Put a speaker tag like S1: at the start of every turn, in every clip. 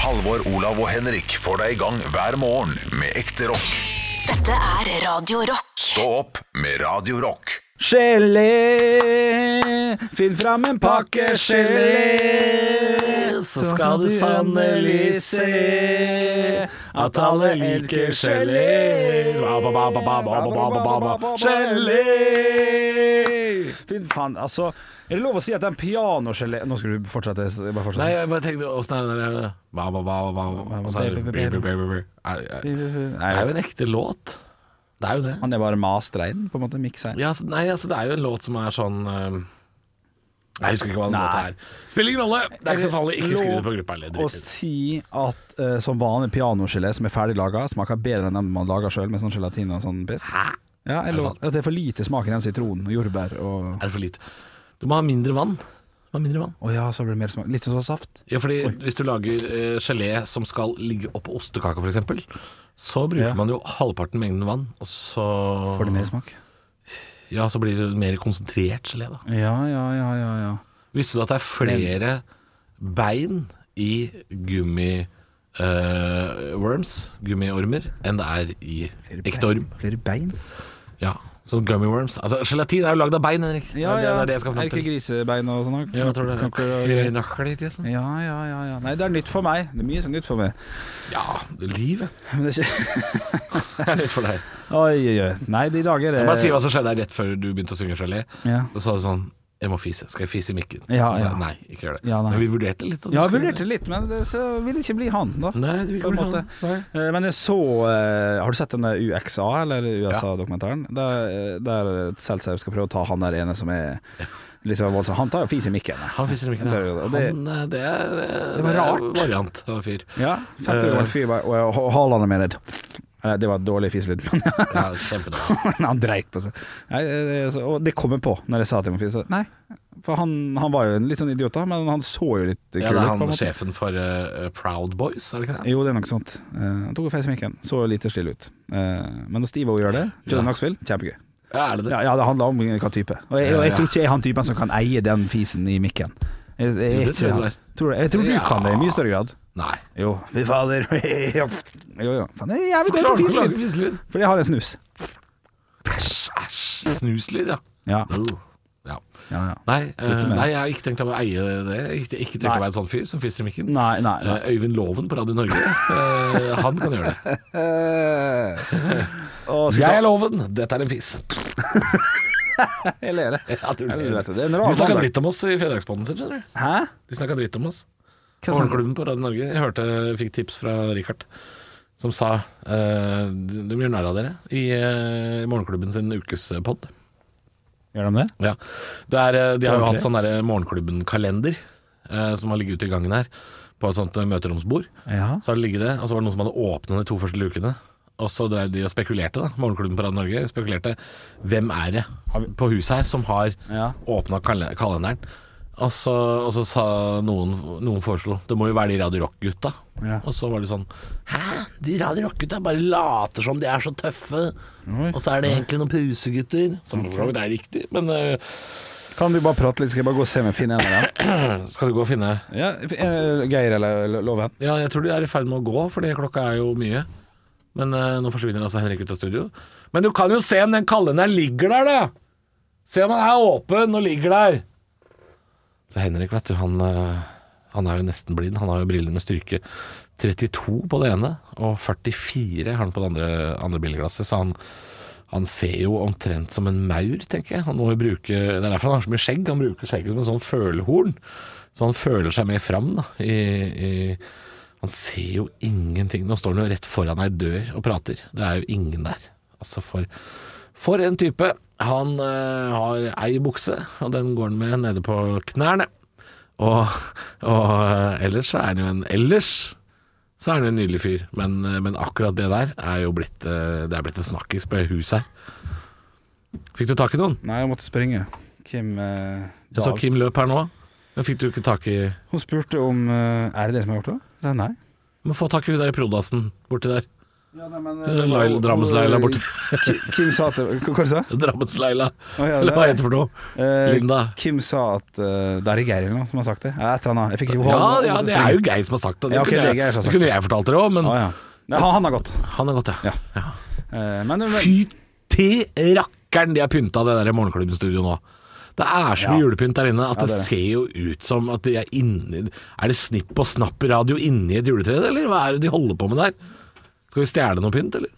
S1: Halvor, Olav og Henrik får deg i gang hver morgen med ekte rock.
S2: Dette er Radio Rock.
S1: Stå opp med Radio Rock.
S3: Gelé, finn fram en pakke gelé, så skal du sannelig se at alle liker gelé. Ba, ba, ba, ba, ba, ba, ba, ba, ba, ba. Gelé! Finn faen, altså Er det lov å si at det er en pianogelé Nå skal du fortsette. Bare
S4: Nei,
S3: fortsette.
S4: jeg bare tenkte åssen er det der eh, ba, ba, ba, ba, ba, og så er det bri, bri, bri, bri, bri. Er- er- Det er jo en ekte låt. Det er jo det.
S3: Han er bare mastrein, på en måte. Mikser.
S4: Ja, altså, nei, altså, det er jo en låt som er sånn eh, Jeg husker ikke hva den
S3: Nei.
S4: låta er. Spiller ingen rolle. Det er ikke så farlig. Ikke skriv det på gruppa. eller
S3: Å
S4: drit i det.
S3: si at eh, som vanlig pianogelé som er ferdiglaga, smaker bedre enn den man lager sjøl, med sånn gelatin og sånn piss.
S4: Hæ?
S3: Ja,
S4: Er det
S3: eller
S4: sant?
S3: at det er for lite smak i den sitronen og jordbær og
S4: Er det for lite? Du må ha mindre vann. Du må ha mindre vann.
S3: Å ja, så blir det mer smak. Litt sånn som saft.
S4: Ja, fordi Hvis du lager eh, gelé som skal ligge oppå ostekaka f.eks., så bruker
S3: Ja.
S4: man jo halvparten mengden vann, og så
S3: Får det mer smak?
S4: Ja, så blir det mer konsentrert gelé, da.
S3: Ja, ja, ja, ja. ja.
S4: Visste du at det er flere bein i gummi-worms, gummiormer, enn det er i ekte orm?
S3: Flere bein?
S4: Ja, sånn gummiworms. Altså, gelatin er jo lagd av bein, Henrik.
S3: Ja,
S4: Det
S3: ja.
S4: er det jeg skal
S3: Er
S4: fram
S3: det ikke
S4: til.
S3: grisebein og sånn?
S4: Ja, jeg tror det.
S3: Knokler og-
S4: Knokler, liksom.
S3: Ja, ja, ja, ja. Nei, det er nytt for meg. Det er mye som er nytt for meg.
S4: Ja, livet
S3: Men det er ikke
S4: er litt for deg.
S3: Oi, oi, oi. Nei, i dag er det
S4: Jeg bare si hva som skjedde her rett før du begynte å synge gelé.
S3: Ja.
S4: Så sa du sånn Jeg må fise. Skal jeg fise i mikken?
S3: Ja,
S4: så sa
S3: ja.
S4: jeg nei, ikke gjør det.
S3: Ja, nei.
S4: Men vi vurderte litt. at
S3: Ja,
S4: du
S3: jeg
S4: skulle-
S3: vurderte litt, men det, så vil det ikke bli han, da.
S4: Nei, du vil
S3: på
S4: ikke
S3: en
S4: bli
S3: måte.
S4: han. Nei.
S3: Eh, Men jeg så eh, Har du sett denne UXA, eller USA-dokumentaren? Der, eh, der Seltzer skal prøve å ta han der ene som er liksom voldsom. Han tar jo fis i mikken.
S4: Han fiser i mikken.
S3: Det er jo-
S4: Ja.
S3: og det-
S4: Han, eh, det er eh,
S3: Det var
S4: det er
S3: rart.
S4: Variant av en fyr.
S3: Ja, 50
S4: Eh.
S3: år gammel fyr bare Og jeg- Haaland er med det. Nei, det var et dårlig fiselyd, men
S4: Ja, kjempebra.
S3: han dreit på seg. Nei, eh, så- og det kom jeg på når jeg sa at jeg må fise. Nei, for han, han var jo en litt sånn idiot, da, men han så jo litt kul
S4: Ja,
S3: ut.
S4: det er
S3: på en
S4: han
S3: måte.
S4: sjefen for eh, Proud Boys, er det ikke det?
S3: Jo, det er noe sånt. Eh, han tok og feis i mikken. Så lite stille ut. Eh, men når Steve-O gjør det, Johnny
S4: Ja.
S3: Knoxville, kjempegøy.
S4: Ja, er det det?
S3: Ja, ja, det handler om hva type. Og jeg, og jeg tror ikke jeg er han typen som kan eie den fisen i mikken. Jeg, jeg,
S4: Jo,
S3: er
S4: det tror
S3: ikke
S4: jeg
S3: han.
S4: du er.
S3: tror, jeg tror du
S4: Ja.
S3: kan det i mye større grad.
S4: Nei.
S3: Jo, fy fader. jo, jo. Faen, jeg er jævlig dårlig på
S4: Klarer du å lage
S3: fiselyd.
S4: fiselyd?
S3: Fordi jeg har en snus.
S4: Æsj, æsj. Snuslyd, ja.
S3: Ja,
S4: ja.
S3: ja, ja.
S4: Nei,
S3: Slutt
S4: eh,
S3: med det.
S4: nei, jeg har ikke tenkt å eie det. Jeg har Ikke, ikke tenkt
S3: Nei.
S4: å være en sånn fyr som fiser i mikken.
S3: Nei, nei. nei.
S4: Eh, Øyvind Loven på Radio Norge, eh, han kan gjøre det.
S3: Eh. Å, skal
S4: Jeg er
S3: jeg ta
S4: Loven, dette er en fis.
S3: Jeg ler. jeg.
S4: Ja, tror du
S3: Jeg
S4: det.
S3: vet det. Det er en rar
S4: De snakka
S3: mandag.
S4: dritt om oss i Fredagspodden sin, skjønner du.
S3: Hæ?
S4: De snakka dritt om oss.
S3: Hva sa du?
S4: Morgenklubben på Radio Norge. Jeg hørte, jeg fikk tips fra Richard, som sa eh, de de gjør narr av dere i eh, Morgenklubben sin ukespod.
S3: Gjør de det?
S4: Ja. Det er, eh, de har jo
S3: Ordentlig.
S4: hatt sånn derre Morgenklubben-kalender eh, som har ligget ute i gangen her, på et sånt eh, møteromsbord.
S3: Ja.
S4: Så har det ligget det, og så var det noen som hadde åpnet de to første lukene. Og så drev de og spekulerte, da. Morgenklubben på Radio Norge spekulerte. Hvem er det på huset her som har
S3: Ja.
S4: åpna kal kalenderen? Og så, og så sa noen, noen foreslo Det må jo være de Radio Rock-gutta.
S3: Ja.
S4: Og så var de sånn Hæ? De Radio Rock-gutta bare later som de er så tøffe. Og så er det egentlig noen pusegutter.
S3: Mm.
S4: Som for så vidt er riktig, men øh,
S3: Kan du bare prate litt, skal jeg bare gå og se om jeg finner en av dem?
S4: skal du gå og finne
S3: Ja, eh, Geir eller Loven?
S4: Ja, jeg tror de er i ferd med å gå, fordi klokka er jo mye. Men eh, nå forsvinner altså Henrik ut av studio. Men du kan jo se om den kalenderen ligger der, da! Se om den er åpen og ligger der! Så Henrik, vet du, han, eh, han er jo nesten blind. Han har jo briller med styrke 32 på det ene, og 44 har han på det andre, andre brilleglasset, så han han ser jo omtrent som en maur, tenker jeg. Han må jo bruke, Det er derfor han har så mye skjegg. Han bruker skjegget som en sånn følehorn. Så han føler seg mer fram, da. I, i, han ser jo ingenting. Nå står han jo rett foran ei dør og prater. Det er jo ingen der. Altså, for, for en type. Han eh, har ei bukse, og den går han med nede på knærne. Og, og eh, ellers så er han jo en Ellers så er han jo en nydelig fyr, men, eh, men akkurat det der er jo blitt eh, Det er blitt en snakkis på huset her. Fikk du tak i noen?
S3: Nei, jeg måtte springe. Kim eh,
S4: Jeg så
S3: Dahl.
S4: Kim løp her nå. Men fikk du ikke tak i
S3: Hun spurte om eh, Er det dere som har gjort det? Så jeg sa nei.
S4: Men få tak i hun der i prodassen borti der.
S3: Ja, nei, men,
S4: Eh, Laila- Drammens-Laila er borte.
S3: Ki- Kim sa at Hva hva sa du?
S4: Drammensleila.
S3: Å, ja,
S4: Eller
S3: det-
S4: hva heter det for noe?
S3: Eh,
S4: Linda.
S3: Kim sa at eh, Det er i Geir eller noe som har sagt det. Ja, Et eller annet. Jeg fikk ikke
S4: Ja,
S3: hun- hun
S4: ja,
S3: måtte
S4: det
S3: springe.
S4: er jo Geir som har sagt det. Det,
S3: Ja, ok,
S4: kunne,
S3: det er Geir
S4: jeg,
S3: som har
S4: det
S3: sagt
S4: kunne jeg fortalt dere òg, men
S3: Å, ja. Ja, han, han har gått.
S4: han er godt, ja.
S3: Ja. Eh, men, men
S4: Fy til rakkeren de har pynta det der Morgenklubben-studioet nå. Det er så mye
S3: Ja.
S4: julepynt der inne
S3: Ja,
S4: at det,
S3: det er det.
S4: ser jo ut som at de er inni Er det snipp og snapp radio inni et juletre, eller hva er det de holder på med der? Skal vi stjele noe pynt, eller?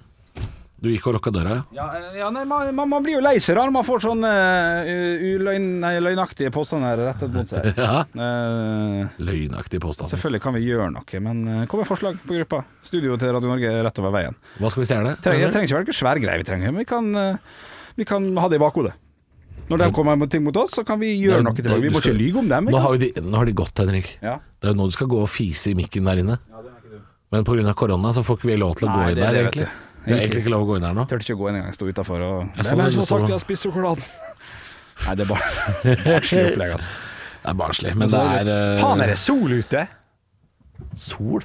S4: Du gikk og lukka døra, ja?
S3: ja, eh, ja, nei, man, man, man blir jo lei seg da når man får sånne eh, uløgn, nei, løgnaktige påstander rettet mot seg.
S4: Ja.
S3: Eh,
S4: Løgnaktig påstand.
S3: selvfølgelig kan vi gjøre noe, men eh, kom med forslag på gruppa. Studio til Radio Norge er rett over veien.
S4: Hva skal vi stjele?
S3: Treng, det trenger ikke være noe svær greie vi trenger, men vi kan, eh, vi kan ha det i bakhodet. Når de kommer med ting mot oss, så kan vi gjøre
S4: Nei,
S3: noe tilbake. Vi må
S4: du
S3: ikke
S4: skal-
S3: lyge om dem.
S4: Nå
S3: Ikke?
S4: har,
S3: sant?
S4: jo de, nå har de gått, Henrik.
S3: Ja.
S4: Det er jo nå du skal gå og fise i mikken der inne. Men pågrunn av korona så får ikke vi lov til å
S3: Nei,
S4: gå inn
S3: det er
S4: der,
S3: det, vet
S4: egentlig.
S3: du.
S4: Vi har egentlig ikke lov å gå inn der nå.
S3: Turte ikke å gå inn engang, sto utafor og
S4: Jeg så
S3: Hvem er det
S4: det,
S3: som har
S4: jeg så
S3: sagt
S4: det.
S3: jeg har spist sjokoladen? Nei, det er bare barnslig opplegg, altså.
S4: Det er barnslig, men det er eh,
S3: Faen, er det sol ute?
S4: sol?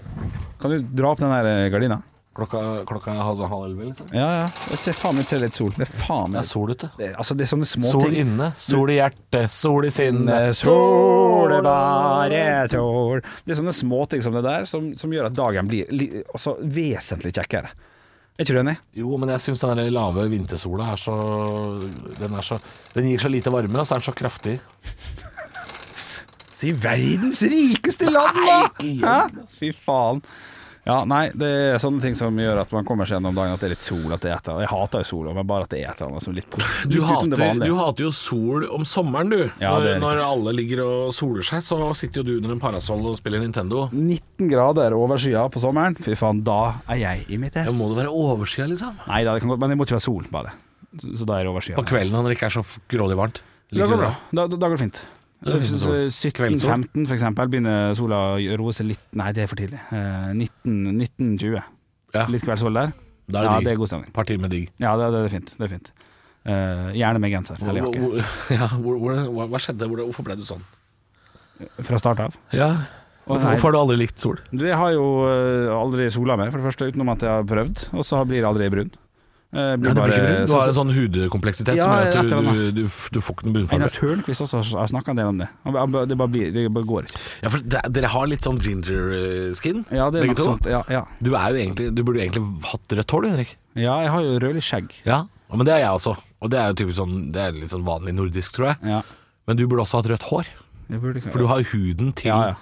S3: Kan du dra opp den der eh, gardina?
S4: Klokka, klokka er halv halv elleve, liksom.
S3: Ja, ja. Det ser faen ut til litt sol. Det er faen
S4: Det
S3: meg
S4: er sol ute.
S3: det, Altså, det er sånne små
S4: Sol
S3: ting.
S4: inne, sol i hjertet, sol i sinnet.
S3: Sol er bare sol Det er sånne småting som det der som, som gjør at dagen blir li, altså, vesentlig kjekkere. Er ikke du enig?
S4: Jo, men jeg syns den der lave vintersola er så Den, er så, den gir så lite varme, og så er den så kraftig.
S3: Si verdens rikeste land, da! Hæ? Fy faen. Ja, nei, det er sånne ting som gjør at man kommer seg gjennom dagen, at det er litt sol, at det er et eller annet. Jeg hater jo sola, men bare at det er et eller annet som er litt, litt utenom
S4: Du
S3: det
S4: hater,
S3: vanlige.
S4: du hater jo sol om sommeren, du.
S3: Ja, det er
S4: når, når alle ligger og soler seg, så sitter jo du under en parasoll og spiller Nintendo.
S3: 19 grader overskya på sommeren, fy faen, da er jeg i mitt ess.
S4: Ja, må det være overskya, liksom?
S3: Nei da, det kan godt, men det må ikke være sol, bare. Så så da er det overskya.
S4: På kvelden når det ikke er så f- grådig varmt.
S3: Da går
S4: Ligger du
S3: det bra.
S4: der.
S3: Da, da, da går det fint.
S4: Da går det fint, tror jeg.
S3: 17-15 for eksempel begynner sola å roe seg litt Nei, det er for tidlig. Eh, 19 19-20.
S4: Ja,
S3: Litt kveldssol der.
S4: da
S3: ja,
S4: er
S3: det er
S4: det digg.
S3: god stemning.
S4: Et par timer digg.
S3: Ja, det, det er fint. Det er fint. Eh, gjerne med genser eller
S4: Hvor-
S3: jakke.
S4: hvor- Ja, hvor, hvor, hva, hva skjedde? Hvor, hvorfor ble du sånn?
S3: Fra start av.
S4: Ja.
S3: Å, nei.
S4: Hvorfor har du aldri likt sol?
S3: Du, jeg har jo eh, aldri sola med, for det første, utenom at jeg har prøvd. Og så blir jeg aldri brun. Eh, blir
S4: du,
S3: bare-
S4: du
S3: så-
S4: har en sånn hudkompleksitet
S3: Ja,
S4: som gjør
S3: et
S4: at du,
S3: eller
S4: du, du, f- du får ikke noen
S3: Einar
S4: brunfarge.
S3: Tørnquist også har snakka en del om det. Han bare- Det bare, blir, det bare går ikke.
S4: Ja, for de- dere har litt sånn ginger eh, skin,
S3: Ja, det er
S4: begge
S3: nok sånn
S4: to.
S3: sånt. Ja, ja.
S4: Du, er jo egentlig, du burde jo egentlig hatt rødt hår, du, Henrik.
S3: ja, jeg har jo rødlig skjegg.
S4: Ja. Men det er jeg også. Og det er jo typisk sånn, det er litt sånn vanlig nordisk, tror jeg.
S3: Ja.
S4: Men du burde også hatt rødt hår.
S3: Jeg burde ikke
S4: For du har huden til
S3: Ja, ja.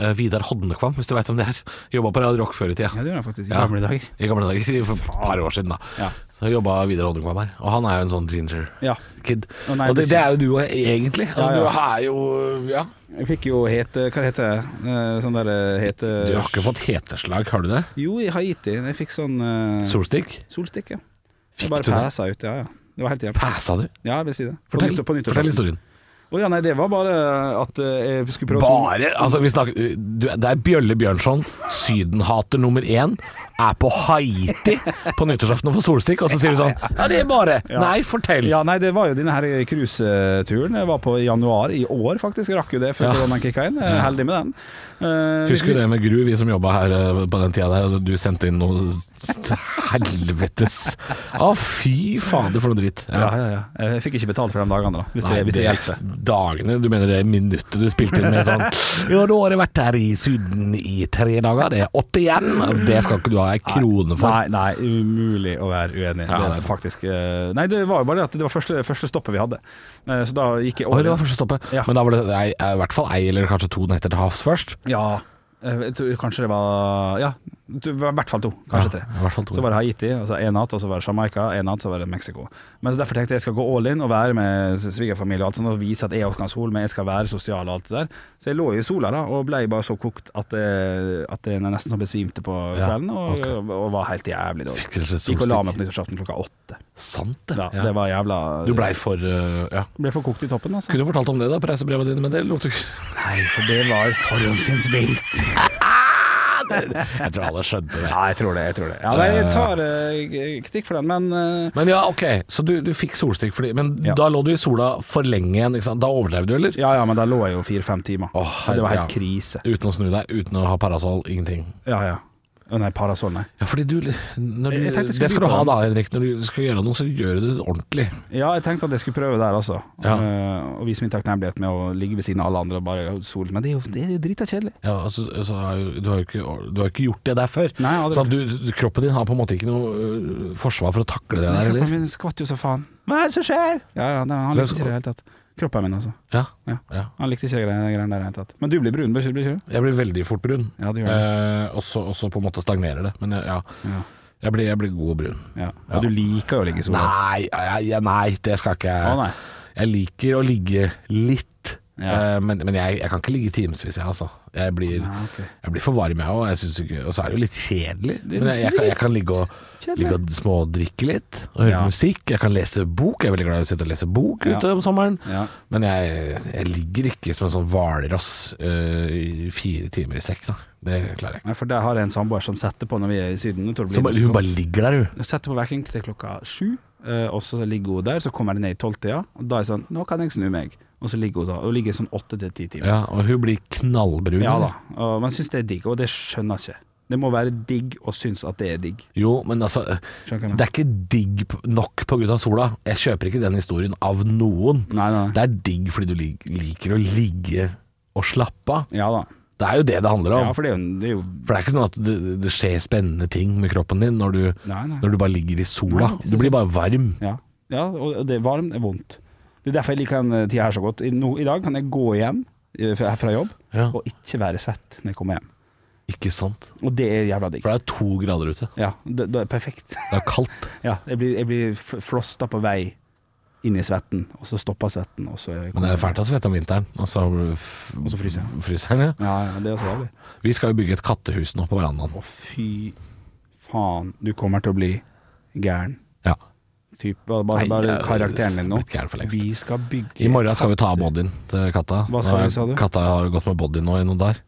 S4: eh, Vidar Hodnekvam, hvis du veit om det er. Jobba på Radio Rock før i tida.
S3: Ja, det gjør jeg faktisk. I
S4: Ja.
S3: gamle dager.
S4: I gamle dager, for et par år siden da
S3: Ja.
S4: Så jobba Vidar Oddekvam her Og han er jo en sånn ginger
S3: Ja.
S4: kid
S3: Å, nei,
S4: Og det,
S3: det-
S4: det er jo du også, egentlig altså,
S3: Ja, ja.
S4: Du er jo, ja
S3: Jeg fikk jo hete Hva heter det? Eh, Sånn der eh, hete
S4: Du har ikke fått heteslag, har du det?
S3: Jo, i Haiti. Jeg fikk sånn eh,
S4: Solstikk?
S3: solstikk, ja.
S4: Fikk
S3: Jeg bare
S4: du det?
S3: pæsa ut, ja ja. Det var helt jevnt.
S4: Pæsa du?
S3: Ja, jeg vil si det. På
S4: Fortell,
S3: nytt- på nyttårsaften.
S4: fortell historien
S3: Å ja, nei, det var bare at eh, jeg skulle prøve å
S4: Bare, altså vi snakker du, Det er Bjølle Bjørnson Sydenhater nummer 1 Er på Haiti På nyttårsaften og får solstikk Og så sier du sånn Ja, det er bare Nei, fortell
S3: Ja, nei, det var jo denne her cruiseturen. Jeg var på i januar i år, faktisk. Rakk jo det før
S4: Ja.
S3: koronaen kicka inn. Jeg er Heldig med den. Eh,
S4: Husker
S3: vi-
S4: du det med Gru, vi som jobba her eh, på den tida der, og du sendte inn noe til helvetes Å, fy fader, for noe dritt.
S3: Ja, ja, ja. Jeg fikk ikke betalt for de dagene, da. Hvis
S4: Nei,
S3: det, hvis det hjelper.
S4: dagene, du mener det minuttet du spilte inn med sånn Ja, da har jeg vært her i Syden i tre dager, det er åtte igjen, og det skal ikke du ha ei krone for.
S3: Nei, nei, umulig å være uenig.
S4: Ja,
S3: det
S4: det
S3: er
S4: er
S3: faktisk eh, Nei, det var jo bare det at det var første, første stoppet vi hadde. Eh, Så da gikk jeg
S4: Oi,
S3: all
S4: det
S3: in.
S4: var første stoppet.
S3: Ja.
S4: Men da var det ei, ei- i hvert fall ei eller kanskje to netter til havs først.
S3: Ja, eh, jeg tror kanskje det var Ja, det var i hvert fall to. Kanskje
S4: Ja,
S3: tre.
S4: i hvert fall to.
S3: Så var det Haiti, altså én natt, og så var det Jamaica, én natt, så var det Mexico. Men så derfor tenkte jeg jeg skal gå all in og være med svigerfamilie og alt sånt, og vise at jeg også kan sol, men jeg skal være sosial og alt det der. Så jeg lå jo i sola da, og ble bare så kokt at jeg, at jeg nesten så besvimte på
S4: Ja,
S3: kvelden, og,
S4: ok.
S3: og, var helt jævlig dårlig.
S4: Fikk rett og slett
S3: Gikk og la
S4: solstikk.
S3: meg på nyttårsaften klokka åtte.
S4: Sant det.
S3: Ja,
S4: Ja.
S3: Det var jævla
S4: Du blei for eh, Ja.
S3: ble for kokt i toppen, altså.
S4: Kunne jo fortalt om det, da, på reisebrevet ditt, men det lot du ikke
S3: Nei, for det var forhåndsinnspilt.
S4: Jeg tror alle skjønte det.
S3: Ja, jeg tror det. Jeg tror det. Ja, nei, jeg tar eh, kritikk for den, men eh,
S4: Men ja, ok, så du, du fikk solstikk fordi Men
S3: Ja.
S4: da lå du i sola for lenge igjen, ikke sant? Da overdrev du, eller?
S3: Ja ja, men da lå jeg jo fire-fem timer.
S4: Å, herre,
S3: det var helt
S4: ja.
S3: krise.
S4: Uten å snu deg, uten å ha parasoll, ingenting.
S3: Ja ja. Å, Nei, parasoll, nei.
S4: Ja, fordi du, når du
S3: Jeg- jeg tenkte jeg skulle
S4: Det skal du
S3: by på
S4: ha
S3: den.
S4: da, Henrik. Når du skal gjøre noe, så gjør du det ordentlig.
S3: Ja, jeg tenkte at jeg skulle prøve der, altså.
S4: Ja.
S3: Eh, og vise min takknemlighet med å ligge ved siden av alle andre og bare sol. Men det er jo, det er jo drita kjedelig.
S4: Ja, altså, altså, er jo- du, har jo ikke, du har jo ikke gjort det der før.
S3: Nei, jeg hadde
S4: så at du, kroppen din har på en måte ikke noe øh, forsvar for å takle det der,
S3: Kroppen
S4: eller?
S3: min skvatt jo så faen. Hva er det som skjer? Ja, ja, nei, han likte ikke det i det hele tatt. Kroppen min, altså.
S4: Ja.
S3: Ja.
S4: ja.
S3: Han likte ikke de greiene der i det hele tatt. Men du blir brun, blir ikke du?
S4: Jeg blir veldig fort brun.
S3: Ja, det gjør
S4: Eh, og så- og så på en måte stagnerer det. Men eh, ja,
S3: Ja.
S4: jeg blir, jeg blir god og brun.
S3: Ja. Og du liker jo å ligge i sola.
S4: Nei, jeg, jeg, nei, det skal ikke jeg.
S3: Å, nei.
S4: Jeg liker å ligge litt.
S3: Ja.
S4: eh, Men, men jeg, jeg kan ikke ligge timevis, jeg, altså. Jeg blir,
S3: Nei, ok.
S4: jeg blir for varm, jeg òg. Og så er det jo litt kjedelig.
S3: er
S4: Men jeg, jeg, kan, jeg kan ligge og,
S3: kjedelig.
S4: ligge og smådrikke litt. Og høre
S3: Ja.
S4: musikk. Jeg kan lese bok. Jeg er veldig glad i å sitte og lese bok
S3: Ja.
S4: ute om sommeren.
S3: Ja.
S4: Men jeg, jeg ligger ikke som en sånn hvalross eh, i fire timer i strekk. da. Det klarer jeg ikke.
S3: Nei, for der har jeg en samboer som setter på når vi er i Syden. Jeg tror det
S4: Så
S3: blir
S4: bare, hun bare ligger der, hun.
S3: Jeg setter på vekking til klokka sju, eh, og så ligger hun der. Så kommer jeg ned i tolvtida, og da er jeg sånn Nå kan jeg snu meg. Og så ligger hun da. Og ligger sånn åtte til ti timer.
S4: Ja, og hun blir knallbrun.
S3: Ja da. Og man syns det er digg, og det skjønner jeg ikke. Det må være digg å synes at det er digg.
S4: Jo, men altså
S3: Skjønner hva jeg
S4: Det er ikke digg p- nok på grunn av sola. Jeg kjøper ikke den historien av noen.
S3: Nei, nei.
S4: Det er digg fordi du lik- liker å ligge og slappe av.
S3: Ja da.
S4: Det er jo det det handler om.
S3: Ja, for det er jo, det er jo
S4: For det er ikke sånn at det, det skjer spennende ting med kroppen din når du,
S3: Nei, nei.
S4: Når du bare ligger i sola. Du blir bare varm.
S3: Ja, ja og det er varmt, det er vondt. Det er derfor jeg liker den eh, tida her så godt. I, no, I dag kan jeg gå hjem eh, fra fra jobb
S4: Ja.
S3: og ikke være svett når jeg kommer hjem.
S4: Ikke sant?
S3: Og det er jævla digg.
S4: For det er to grader ute.
S3: Ja, det, det er perfekt.
S4: Det er kaldt.
S3: Ja, jeg blir, jeg blir f- flosta på vei inn i svetten, og så stopper svetten, og så
S4: Men det er fælt å svette om vinteren. Og så, f-
S3: Og så fryser jeg.
S4: fryser den, ja.
S3: Ja, ja, det er også jævlig.
S4: Vi skal jo bygge et kattehus nå på verandaen.
S3: Å, fy faen, du kommer til å bli gæren.
S4: Ja.
S3: Typ, bare, bare,
S4: Nei,
S3: bare
S4: jeg-
S3: karakteren din nå.
S4: blitt gæren for lengst.
S3: Vi skal bygge
S4: I morgen skal vi ta av bodyen til katta.
S3: Hva skal vi,
S4: Og
S3: sa du?
S4: Katta har jo gått med body nå i noen dager.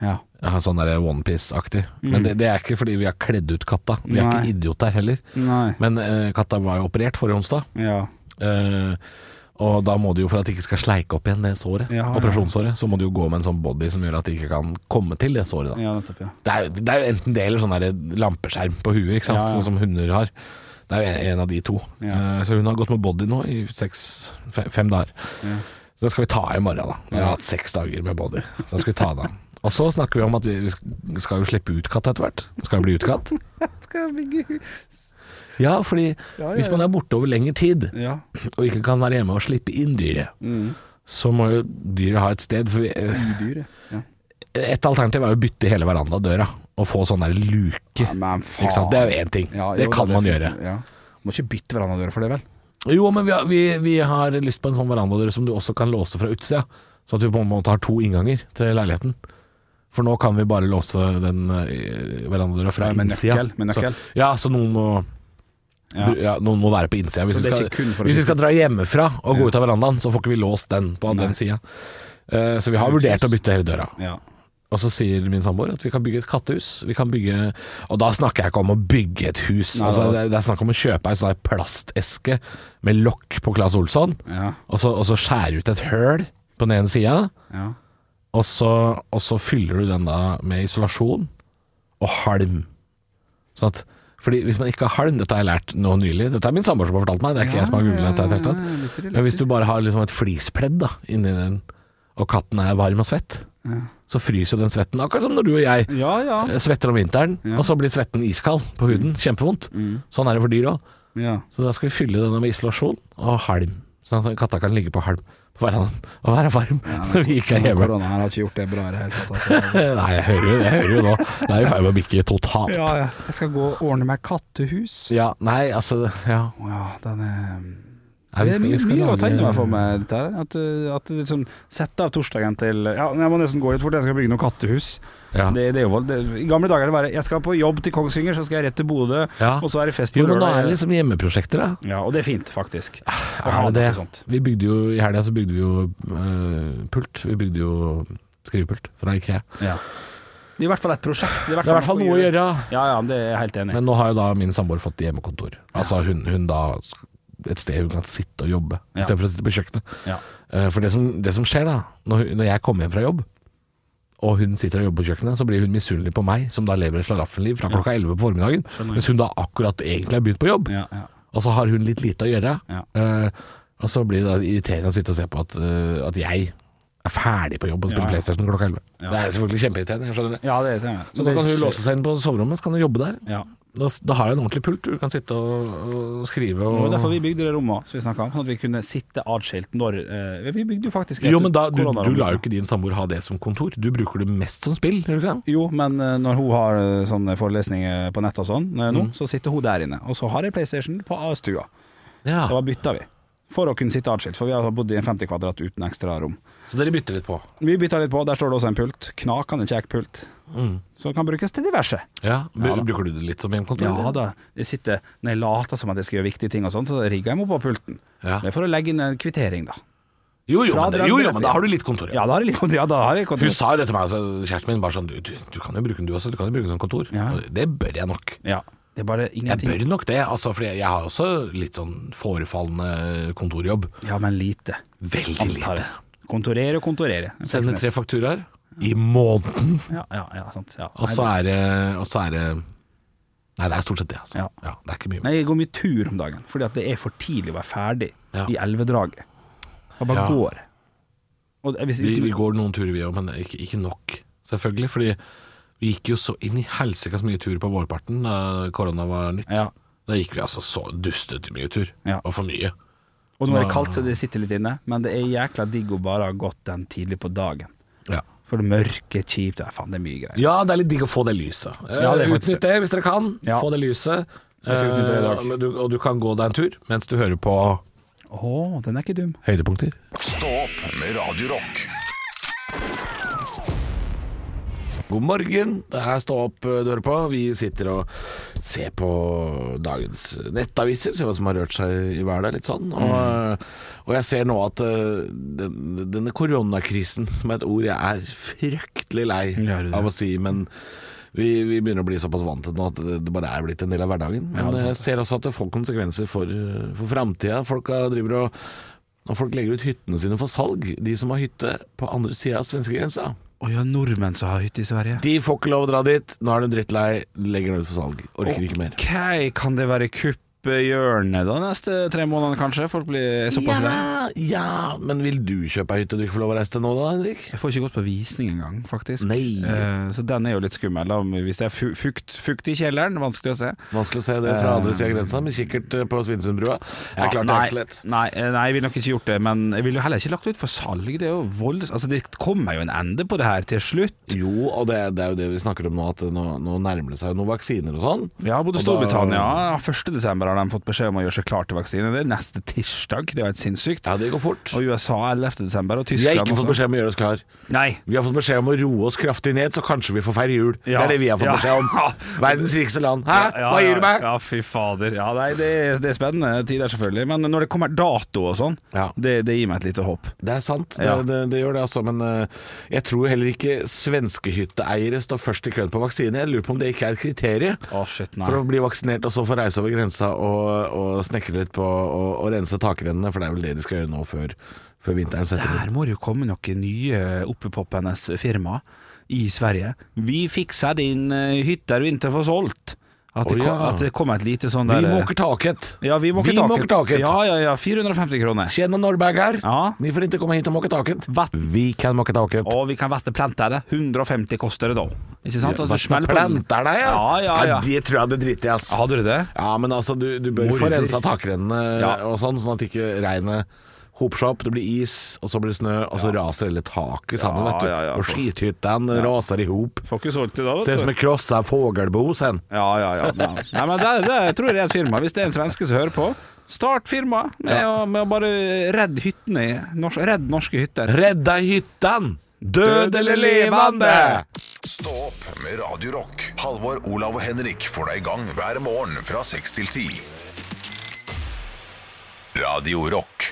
S3: Ja.
S4: Ja, sånn der onepiece-aktig. Men det, det er ikke fordi vi har kledd ut katta. Vi er
S3: Mm. Nei.
S4: ikke idioter heller.
S3: Nei.
S4: Men eh, katta var jo operert forrige onsdag.
S3: Ja.
S4: Eh, og da må du jo, for at de ikke skal sleike opp igjen det såret,
S3: Ja, ja.
S4: operasjonssåret, så må du jo gå med en sånn body som gjør at de ikke kan komme til det såret. Da.
S3: ja, nettopp, ja.
S4: Det, er, jo- det er jo enten det eller sånn der lampeskjerm på huet, ikke sant?
S3: Ja, ja.
S4: sånn som hunder har. Det er jo en- en av de to.
S3: Ja.
S4: Eh, så hun har gått med body nå i seks, fe- fem dager. Så det skal vi ta av i morgen, da. Når vi har hatt seks dager med body. Da skal vi ta det av. Og så snakker vi om at vi vi sk- skal jo slippe ut katt etter hvert. Skal jo bli utkatt.
S3: Skal jeg bygge
S4: Ja, fordi
S3: Ja, ja,
S4: hvis man er borte over lengre tid,
S3: Ja. Mm.
S4: og ikke kan være hjemme og slippe inn dyret, så må jo dyret ha et sted. For vi, eh,
S3: Dyr, ja.
S4: et alternativ er jo å bytte hele verandadøra og få sånn der luke.
S3: Ja, men faen.
S4: Ikke sant? Det er jo én ting.
S3: Ja,
S4: det
S3: jo,
S4: kan
S3: da,
S4: man
S3: er
S4: gjøre.
S3: fint. Ja. Må ikke bytte verandadøra for det, vel?
S4: Jo, men vi har, vi, vi har lyst på en sånn verandadør som du også kan låse fra utsida. Så at vi på en måte har to innganger til leiligheten. For nå kan vi bare låse den eh, verandadøra fra
S3: Ja, med
S4: innsida.
S3: nøkkel, med nøkkel.
S4: Så, ja, så noen må
S3: Ja.
S4: bru- Ja, noen må være på innsida. Hvis,
S3: Så
S4: vi
S3: det er
S4: skal,
S3: ikke kun for å
S4: hvis vi
S3: sitte-
S4: skal dra hjemmefra og gå ut av verandaen, så får ikke vi låst den på den sida. Eh, så vi har vurdert å bytte hele døra.
S3: Ja.
S4: Og så sier min samboer at vi kan bygge et kattehus. Vi kan bygge Og da snakker jeg ikke om å bygge et hus.
S3: Nei,
S4: altså,
S3: nei.
S4: det, er- det er snakk om å kjøpe ei sånn her plasteske med lokk på Claes Olsson,
S3: Ja.
S4: og så, og så skjære ut et høl på den ene sida,
S3: ja.
S4: og, så- og så fyller du den da med isolasjon og halm. Sånn at fordi hvis man ikke har halm, dette har jeg lært nå nylig Dette er min samboer som har fortalt meg, det er ikke jeg som har googla dette. i det hele tatt. Men hvis du bare har liksom et flispledd da, inni den, og katten er varm og svett, så fryser den svetten. Akkurat som når du og jeg
S3: Ja, ja. Mm.
S4: eh, svetter om vinteren, og så blir svetten iskald på huden. Kjempevondt. Sånn er det for dyr òg.
S3: ja.
S4: Så da skal vi fylle denne med isolasjon og halm. Sånn at katta kan ligge på halm på verandaen og være varm når vi ikke er hjemme.
S3: Korona her har ikke gjort det bra i det hele tatt. altså.
S4: Nei, jeg hører jo det. Jeg hører jo nå. Det er i ferd med å bikke totalt.
S3: Ja, ja. Jeg skal gå og ordne meg kattehus.
S4: Ja, nei, altså Ja.
S3: Å ja, den er
S4: Nei,
S3: Det
S4: vi
S3: er
S4: skal- vi
S3: mye,
S4: skal
S3: mye å
S4: lage-
S3: tegne meg for meg, dette her. At, uh, at det liksom Sette av torsdagen til Ja, men jeg må nesten gå litt fort, jeg skal bygge noe kattehus.
S4: Ja.
S3: Det, det er jo vold. Det, I gamle dager er det bare Jeg skal på jobb til Kongsvinger, så skal jeg rett til Bodø,
S4: Ja.
S3: og så er det fest på
S4: Jo, men nå
S3: lørdag.
S4: er det liksom hjemmeprosjekter, da.
S3: Ja, og det er fint, faktisk. Å
S4: Er
S3: ha
S4: det
S3: noe
S4: det?
S3: sånt.
S4: Vi bygde jo, I helga så bygde vi jo eh, pult. Vi bygde jo skrivepult fra IKEA.
S3: Ja. Det er i hvert fall et prosjekt. Det er
S4: Det er i hvert fall noe å gjøre.
S3: Ja, ja, det er jeg helt enig i.
S4: Men nå har jo da min samboer fått hjemmekontor. Altså hun, hun da et sted hun kan sitte og jobbe,
S3: Ja.
S4: istedenfor å sitte på kjøkkenet.
S3: Ja.
S4: Eh, For det som, det som skjer da, når, hun- når jeg kommer hjem fra jobb, og hun sitter og jobber på kjøkkenet, så blir hun misunnelig på meg, som da lever et slaraffenliv fra klokka 11 på formiddagen, mens hun da akkurat egentlig har begynt på jobb.
S3: Ja, ja.
S4: Og så har hun litt lite å gjøre.
S3: Ja.
S4: Eh, og så blir det da irriterende å sitte og se på at, eh, at jeg er ferdig på jobb og spiller
S3: Ja, ja.
S4: PlayStation klokka 11. Det er selvfølgelig kjempeirriterende, jeg skjønner det.
S3: Ja, det irriterer meg.
S4: Så da kan hun låse seg inn på soverommet, så kan hun jobbe der.
S3: Ja.
S4: Da, da har jeg en ordentlig pult, du kan sitte og, og skrive
S3: Det var
S4: og
S3: derfor vi bygde det rommet som vi snakket om, sånn at vi kunne sitte atskilt når eh, Vi bygde jo faktisk
S4: Jo, men da, du, du
S3: koronarom.
S4: lar jo ikke din samboer ha det som kontor. Du bruker det mest som spill, gjør du ikke det?
S3: Jo, men eh, når hun har eh, sånne forelesninger på nett og sånn eh,
S4: Mm.
S3: nå, så sitter hun der inne. Og så har jeg PlayStation på eh, stua.
S4: Ja.
S3: Da bytta vi. For å kunne sitte atskilt, for vi har bodd i en 50 kvadrat uten ekstra rom.
S4: Så dere bytter litt på.
S3: Vi bytta litt på, der står det også en pult. Knakende kjekk pult.
S4: Mm.
S3: Som kan brukes til diverse.
S4: Ja, br
S3: Ja da.
S4: Bruker du det litt som hjemkontor?
S3: Ja
S4: eller?
S3: da. Jeg sitter, når jeg later som at jeg skal gjøre viktige ting og sånn, så rigger jeg meg opp på pulten.
S4: Ja.
S3: Det er for å legge inn en kvittering, da.
S4: Jo, jo,
S3: Fra
S4: men, det,
S3: dere
S4: jo,
S3: andre
S4: jo, men da har du litt kontor.
S3: Ja, da har jeg litt Ja, da har jeg
S4: Hun
S3: kontor.
S4: sa jo det til meg, altså, kjæresten min, bare sånn du, du, du kan jo bruke den du også, du kan jo bruke den som kontor.
S3: Ja.
S4: Og Det bør jeg nok.
S3: Ja. Det er bare
S4: Jeg
S3: ingenting.
S4: bør nok det, altså, for jeg jeg har også litt sånn forefallende kontorjobb.
S3: Ja, men lite.
S4: Veldig
S3: Antar
S4: lite.
S3: jeg. Kontorere og kontorere.
S4: Sender tre fakturaer i måneden,
S3: Ja, ja, ja, sant. Ja.
S4: og så er det Og så er det Nei, det er stort sett det, altså.
S3: Ja.
S4: Ja, det er ikke mye mer.
S3: Nei, jeg går mye tur om dagen, fordi at det er for tidlig å være ferdig
S4: Ja.
S3: i elvedraget. Da bare
S4: Ja.
S3: går jeg. Og det- hvis
S4: Vi,
S3: ikke-
S4: vi går noen turer vi òg, men ikke, ikke nok, selvfølgelig. Fordi vi gikk jo så inn i helsikas mye tur på vårparten da korona var nytt.
S3: Ja.
S4: Da gikk vi altså så dustete mye tur,
S3: Ja.
S4: og for mye.
S3: Og nå er det kaldt, så det sitter litt inne, men det er jækla digg å bare ha gått den tidlig på dagen.
S4: Ja.
S3: For det mørke, kjipt, ja, faen, det er mye greier.
S4: Ja, det er litt digg å få det lyset.
S3: Ja, det er
S4: Eh,
S3: faktisk
S4: Utnytt det hvis dere kan.
S3: Ja.
S4: Få det lyset.
S3: Jeg skal utnytte det i dag.
S4: Eh, og du, og du kan gå deg en tur mens du hører på
S3: Å, den er ikke dum.
S4: høydepunkter.
S1: Stå opp med Radio Rock.
S4: God morgen, det er Stå opp eh, du hører på. Vi sitter og ser på dagens nettaviser, ser hva som har rørt seg i hverdagen, litt sånn. Og,
S3: Mm.
S4: og jeg ser nå at eh, den, denne koronakrisen, som er et ord jeg er fryktelig lei
S3: Ja, er det det?
S4: av å si, men vi, vi begynner å bli såpass vant til det nå at det det bare er blitt en del av hverdagen. Men
S3: det er sant.
S4: jeg ser også at det får konsekvenser for, eh, for framtida. Folk har- driver og Når folk legger ut hyttene sine for salg, de som har hytte på andre sida av svenskegrensa
S3: Å ja, nordmenn som har hytte i Sverige.
S4: de får ikke lov å dra dit. Nå er de drittlei. Legger den ut for salg. Orker ikke mer.
S3: Ok, kan det være kuppehjørnet da neste tre månedene kanskje? Folk blir såpass lei.
S4: Ja, ja, men vil du kjøpe ei hytte du ikke får lov å reise til nå, da, Henrik?
S3: Jeg får ikke gått på visning engang, faktisk.
S4: Nei.
S3: Eh, så den er jo litt skummel. Da. Hvis det er fu- fukt, fukt i kjelleren, vanskelig å se.
S4: Vanskelig å se det fra andre sida av grensa, men kikkert eh, på Svinesundbrua. Det er klart det er ikke så lett.
S3: Nei, nei, nei, jeg ville nok ikke gjort det. Men jeg ville jo heller ikke lagt det ut for salg. Det er jo volds... Altså, det kommer jo en ende på det her til slutt.
S4: Jo, og det, det er jo det vi snakker om nå, at nå, nå nærmer det seg jo noen vaksiner og sånn.
S3: Ja, både
S4: Og da-
S3: Storbritannia ja, 1. desember har de fått beskjed om å gjøre seg klar til vaksine. Det er neste tirsdag, det er jo helt sinnssykt.
S4: Ja, det går fort.
S3: Og USA 11. desember, og
S4: Vi har
S3: Tyskland
S4: ikke fått beskjed om å gjøre oss klar.
S3: Nei.
S4: Vi har fått beskjed om å roe oss kraftig ned, så kanskje vi får feire jul. Det
S3: Ja.
S4: er det vi har fått
S3: Ja.
S4: beskjed om. Verdens rikeste land. Hæ?
S3: Ja,
S4: Hva gir du meg?
S3: Ja, ja, fy fader. Ja, nei, det, er- det er spennende tider, selvfølgelig. Men når det kommer dato og sånn,
S4: Ja.
S3: det, det gir meg et lite håp.
S4: Det er sant, det,
S3: Ja.
S4: det, det gjør det altså, men eh, jeg tror heller ikke svenske hytteeiere står først i køen på vaksine. Jeg lurer på om det ikke er et kriterium
S3: Å, shit, nei.
S4: for å bli vaksinert og så få reise over grensa og, og snekre litt på og, og rense takrennene, for det er vel det de skal gjøre nå før, før vinteren setter inn.
S3: Der må det jo komme noen nye oppepoppende firma i Sverige. Vi fikser din eh, hytte du ikke får solgt. At det,
S4: Å, ja.
S3: kom, at det kommer et lite sånn der
S4: Vi måker taket!
S3: Ja, vi måker taket.
S4: taket.
S3: Ja, ja, ja. 450 kroner.
S4: Tjena Norberg her!
S3: Ja.
S4: Ni får ikke komme hit og måke taket.
S3: Vatt-
S4: Vi kan måke taket.
S3: Og vi kan vattneplante det. 150 koster det da. Ikke sant? At du smeller på den.
S4: Planter deg, ja.
S3: Ja, ja, ja.
S4: Det tror jeg det driter i, ass.
S3: Hadde du det?
S4: Ja, men altså, du, du bør få
S3: Morder.
S4: rensa takrennene
S3: Ja.
S4: og sånn, sånn at ikke regnet hoper seg opp. Det blir is, og så blir det snø, og så raser hele taket
S3: Ja,
S4: sammen, vet du.
S3: ja, ja,
S4: og
S3: for-
S4: skithyttene raser i hop.
S3: Får ikke solgt det da,
S4: Ser ut
S3: vet
S4: som
S3: du.
S4: en krossa fuglebo, sen.
S3: Ja, ja, ja. ja. Nei, men det, det tror jeg er et firma. Hvis det er en svenske som hører på, start firma med, å, med å bare redde hyttene. i- Nors, redd norske hytter.
S4: Redd deg hytten! Død eller levende!
S1: Stå opp med Radio Rock. Halvor, Olav og Henrik får deg i gang hver morgen fra seks til ti. Radio Rock.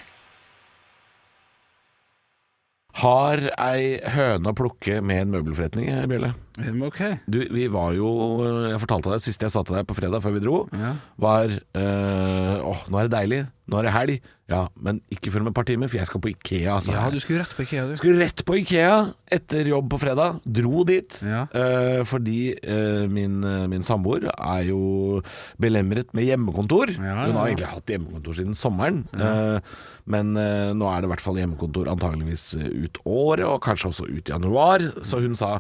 S4: Har ei høne å plukke med en møbelforretning, Bjelle?
S3: Men Ok.
S4: Du, vi var jo eh, Jeg fortalte deg sist jeg sa til deg på fredag før vi dro,
S3: Ja.
S4: var eh, Åh, nå er det deilig. Nå er det helg. Ja, men ikke før om et par timer, for jeg skal på Ikea. sa
S3: Ja,
S4: jeg.
S3: du skulle rett på IKEA, du.
S4: Skulle rett på Ikea etter jobb på fredag. Dro dit.
S3: Ja.
S4: eh, fordi eh, min, eh, min samboer er jo belemret med hjemmekontor.
S3: Ja,
S4: Hun
S3: ja.
S4: har egentlig hatt hjemmekontor siden sommeren. eh, men eh, nå er det i hvert fall hjemmekontor antageligvis eh, ut året, og kanskje også ut januar. Så hun sa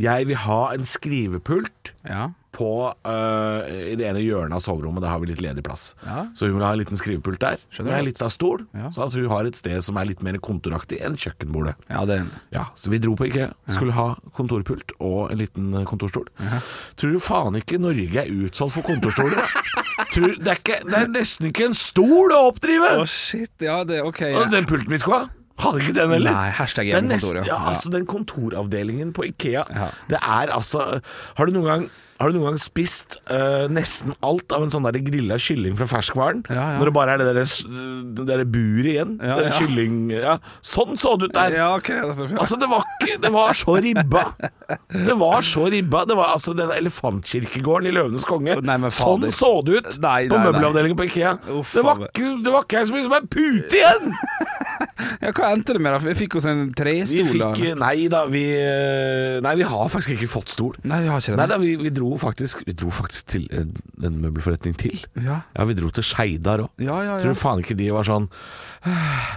S4: 'jeg vil ha en skrivepult'
S3: Ja.
S4: på eh, i det ene hjørnet av soverommet. Der har vi litt ledig plass.
S3: Ja.
S4: Så hun vil ha en liten skrivepult der.
S3: Skjønner
S4: Skjønner med
S3: godt.
S4: litt av stol,
S3: Ja.
S4: så at hun har et sted som er litt mer kontoraktig enn kjøkkenbordet.
S3: ja, det er en
S4: Ja, Så vi dro på IKEA, skulle ha kontorpult og en liten eh, kontorstol. Tror du faen ikke Norge er utsolgt for kontorstoler? da? Tror, det, er ikke, det er nesten ikke en stol å oppdrive!
S3: Å, shit. Ja, det ok. Ja.
S4: Og den pulten vi skulle ha, hadde ikke den heller.
S3: Nei, hashtag
S4: Det er
S3: hjemmekontor,
S4: nest-
S3: ja.
S4: ja. Altså, den kontoravdelingen på Ikea,
S3: Ja.
S4: det er altså Har du noen gang har du noen gang spist eh, nesten alt av en sånn der grilla kylling fra ferskvaren?
S3: Ja, ja.
S4: Når det bare er det derre det der buret igjen?
S3: Ja,
S4: det
S3: ja.
S4: Kylling ja. Sånn så det ut der!
S3: Ja, ok. dette-
S4: Altså, det var, ikke, det var så ribba. Det var så ribba. Det var altså den elefantkirkegården i Løvenes konge.
S3: Nei, men
S4: sånn
S3: fader.
S4: så det ut
S3: Nei,
S4: på
S3: nei, nei.
S4: møbelavdelingen på Ikea.
S3: Uff,
S4: det, var
S3: faen.
S4: ikke, det var ikke så mye som en pute igjen!
S3: Ja, hva endte det med, da? Vi fikk oss en
S4: Vi
S3: trestol. da.
S4: fikk Nei da, vi eh, Nei, vi har faktisk ikke fått stol.
S3: Nei, vi har ikke det.
S4: Nei da, vi, vi dro faktisk Vi dro faktisk til en, en møbelforretning til.
S3: Ja.
S4: ja, vi dro til Skeidar òg.
S3: Ja, ja, ja.
S4: Tror faen ikke de var sånn «Eh,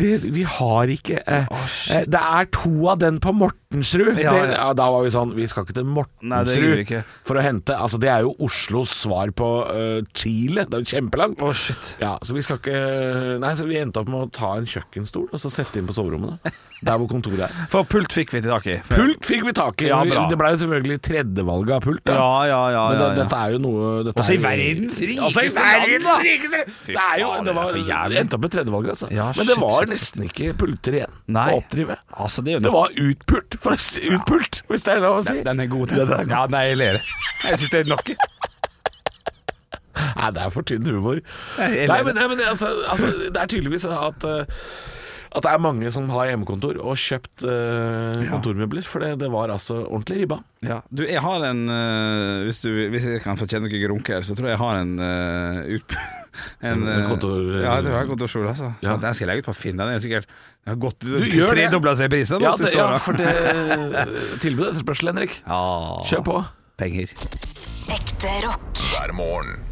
S4: det, Vi har ikke eh, eh, Det er to av den på Mortensrud.
S3: Ja,
S4: det,
S3: ja.
S4: ja, da var vi sånn Vi skal ikke til
S3: Nei, det gjør vi
S4: Mortensrud
S3: ikke.
S4: for å hente Altså, det er jo Oslos svar på eh, Chile. Det er jo kjempelangt.
S3: Å, shit.
S4: Ja, så vi skal ikke Nei, så vi endte opp med å ta en kjøkkenstol og så sette inn på soverommet. da. Der hvor kontoret er.
S3: For pult fikk vi til tak i.
S4: Pult fikk vi tak i.
S3: Ja,
S4: Vi-
S3: bra.
S4: det ble jo selvfølgelig tredjevalget av pult. da.
S3: Ja, ja, ja.
S4: Men det,
S3: ja, ja.
S4: dette er jo noe dette
S3: Også i
S4: er jo-
S3: verdens rikeste
S4: Altså, i
S3: land, da.
S4: verdens rikeste
S3: Fy
S4: Det er jo
S3: faen,
S4: Det
S3: det
S4: var
S3: er for jævlig.
S4: det endte opp med tredjevalget, altså.
S3: Ja,
S4: Men det
S3: shit,
S4: var
S3: shit,
S4: nesten ikke pulter igjen
S3: Nei.
S4: å oppdrive.
S3: Altså, det er jo
S4: Det var utpult, for å si, utpult hvis det er lov å si.
S3: Den er god, den. Ja, nei, jeg ler. Jeg syns det er nok.
S4: Nei, det er for tynn humor.
S3: jeg
S4: Nei,
S3: ler.
S4: men, nei, men det, altså, altså, det er tydeligvis at eh, at det er mange som har hjemmekontor og kjøpt eh,
S3: Ja.
S4: kontormøbler, for det, det var altså ordentlig ribba.
S3: Ja. Du, jeg har en eh, hvis, du, hvis jeg kan fortjene noe grunke her, så tror jeg jeg har en eh, ut, En,
S4: En
S3: eh,
S4: kontor-
S3: Ja, jeg tror jeg har kontorskjol, altså.
S4: Ja.
S3: Den skal jeg legge ut på Finn. Den er sikkert den har gått
S4: gjør det.
S3: tredobla seg i pris den
S4: Ja,
S3: siste
S4: det, ja,
S3: åra.
S4: for det tilbudet etterspørsel, Henrik.
S3: Ja.
S4: Kjør på.
S3: Penger.
S2: Ekte rock.
S1: hver morgen.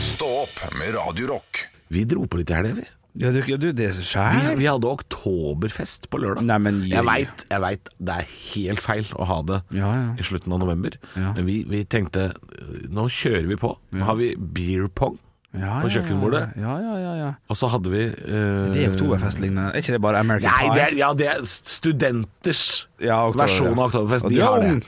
S1: Stå opp med Radio Rock.
S4: Vi dro på litt i helga, vi.
S3: Ja, du, ja, du det er
S4: Vi,
S3: skjær.
S4: vi hadde oktoberfest på lørdag.
S3: Nei, men-
S4: jeg veit jeg vet, det er helt feil å ha det
S3: Ja, ja.
S4: i slutten av november,
S3: Ja.
S4: men vi, vi tenkte nå kjører vi på. Nå har vi beer pong
S3: Ja,
S4: på
S3: ja,
S4: kjøkkenbordet,
S3: Ja, ja, ja. ja.
S4: og så hadde vi eh,
S3: Det er oktoberfestlignende. Er ikke det bare American
S4: Nei, det
S3: Pie?
S4: er, ja, det er studenters
S3: Ja, oktober,
S4: versjon av
S3: ja.
S4: oktoberfest.
S3: Og
S4: De
S3: du er
S4: har det.
S3: ung.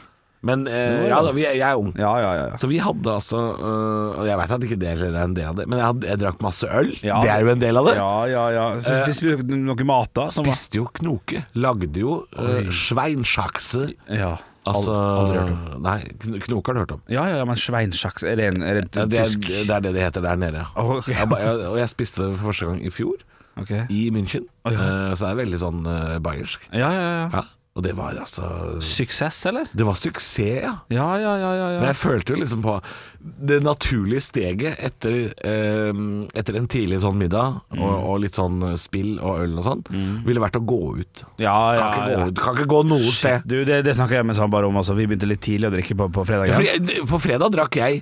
S4: Men
S3: Nå,
S4: eh, ja
S3: ja.
S4: da, vi, jeg er ung.
S3: Ja, ja, ja.
S4: Så vi hadde altså eh, Og jeg veit at ikke det er en del av det, men jeg, hadde, jeg drakk masse øl.
S3: Ja.
S4: Det er jo en del av det. Eh.
S3: Ja, ja, ja. Så spiste du noe mat, da? Som var
S4: Spiste jo knoke. Lagde jo eh, uh, sveinsjakse.
S3: Ja.
S4: Altså,
S3: aldri hørt
S4: Nei, kn- knoke har du hørt om.
S3: Ja, ja, ja, men sveinsjaks Er det en er det
S4: Ja, det, er,
S3: tysk
S4: det er det det heter der nede. ja.
S3: Å, ok.
S4: Jeg, ba- jeg, og jeg spiste det for første gang i fjor,
S3: Ok. Ja,
S4: i München.
S3: Å, ja.
S4: Eh, så det er veldig sånn eh, bayersk.
S3: ja, ja, ja.
S4: Ja. Og det var altså
S3: Suksess, eller?
S4: Det var suksess, ja.
S3: Ja, ja, ja, ja,
S4: Men
S3: ja.
S4: jeg følte jo liksom på det naturlige steget etter, eh, etter en tidlig sånn middag og,
S3: Mm.
S4: og litt sånn spill og øl og sånn, ville vært å gå ut.
S3: ja, Mm. ja,
S4: Kan
S3: ja.
S4: ikke gå, ut- kan ikke gå noe sted.
S3: Shit, du, det, det snakka jeg med Sambar om. Altså. Vi begynte litt tidlig å drikke på, på fredag.
S4: Ja, for jeg, eh, på fredag drakk jeg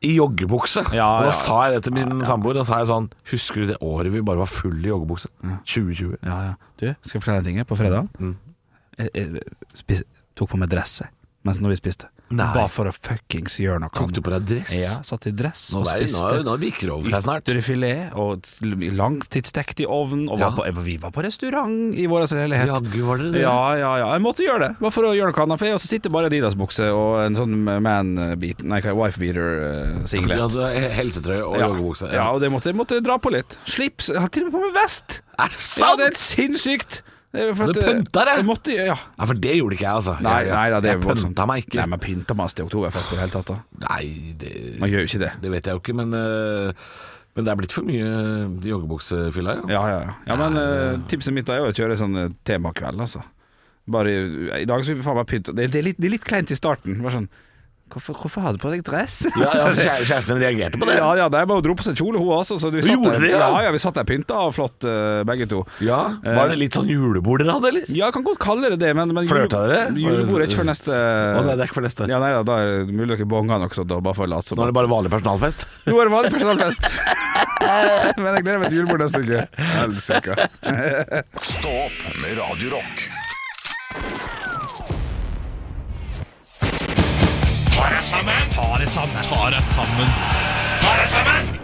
S4: i joggebukse.
S3: Ja,
S4: og
S3: ja.
S4: da sa jeg det til min samboer. Da sa jeg sånn Husker du det året vi bare var full i joggebukse? 2020.
S3: ja, ja. Du, skal jeg fortelle deg en ting? På fredag
S4: Mm.
S3: jeg, jeg spis, tok på meg dresset mens når vi spiste.
S4: Nei.
S3: Bare for å fuckings gjøre noe.
S4: Tok du på deg dress?
S3: Ja, satt i dress
S4: Nå,
S3: og
S4: er, nå,
S3: spiste.
S4: nå bikker det over seg snart.
S3: Ytrefilet og t- langtidsstekt i ovnen. Og
S4: Ja.
S3: var på, vi var på restaurant i vår leilighet.
S4: Jaggu var dere det.
S3: Ja, ja, ja. Jeg måtte gjøre det. Bare for å gjøre noe annet. For jeg også sitter bare i Adidas-bukse og en sånn man-beat Nei, hva
S4: Du
S3: wife-beater-singlet.
S4: hadde altså, Helsetrøye og
S3: eh, ja.
S4: joggebukse.
S3: ja, og det måtte, måtte dra på litt. Slips. Jeg har til og med på meg vest!
S4: Er det
S3: Ja,
S4: sant?!
S3: det er helt sinnssykt! Det er for
S4: Du
S3: at, eh,
S4: pynta deg?
S3: Jeg måtte, ja.
S4: Ja, for det gjorde ikke jeg, altså.
S3: Nei,
S4: jeg,
S3: nei da, det er
S4: jeg pynta meg ikke.
S3: Nei, men pynta man seg til oktoberfest i det hele tatt, da?
S4: Nei, det,
S3: Man gjør jo ikke det.
S4: det vet jeg jo ikke, men, øh, men det er blitt for mye joggebuksefylla, ja.
S3: Ja, ja, ja. ja men eh, tipset mitt da er jo å kjøre sånn eh, temakveld, altså. Bare, I dag skulle vi faen meg pynte det, det, er litt- det er litt kleint i starten. Bare sånn Hvorfor, hvorfor har du på deg dress?
S4: Ja, ja, for kjære- Kjæresten reagerte på det.
S3: Ja, ja, det er bare å dro på seg kjole, hun også. Så vi satt
S4: gjorde
S3: der,
S4: det, ja?
S3: ja? ja, vi satt der pynta og flott, eh, begge to.
S4: Ja,
S3: Eh.
S4: Var det litt sånn julebord dere hadde, eller?
S3: Ja, jeg kan godt kalle det det, men, men
S4: Flørta dere?
S3: Julebord er ikke før neste
S4: Å nei, det er ikke for neste.
S3: Ja, nei, da, da er det mulig dere bonga nok, så da bare for å late
S4: Nå
S3: som.
S4: er det bare vanlig personalfest.
S3: Nå er det vanlig personalfest! men jeg gleder meg til julebord neste uke. Helsike.
S1: Stå opp med Radio Rock.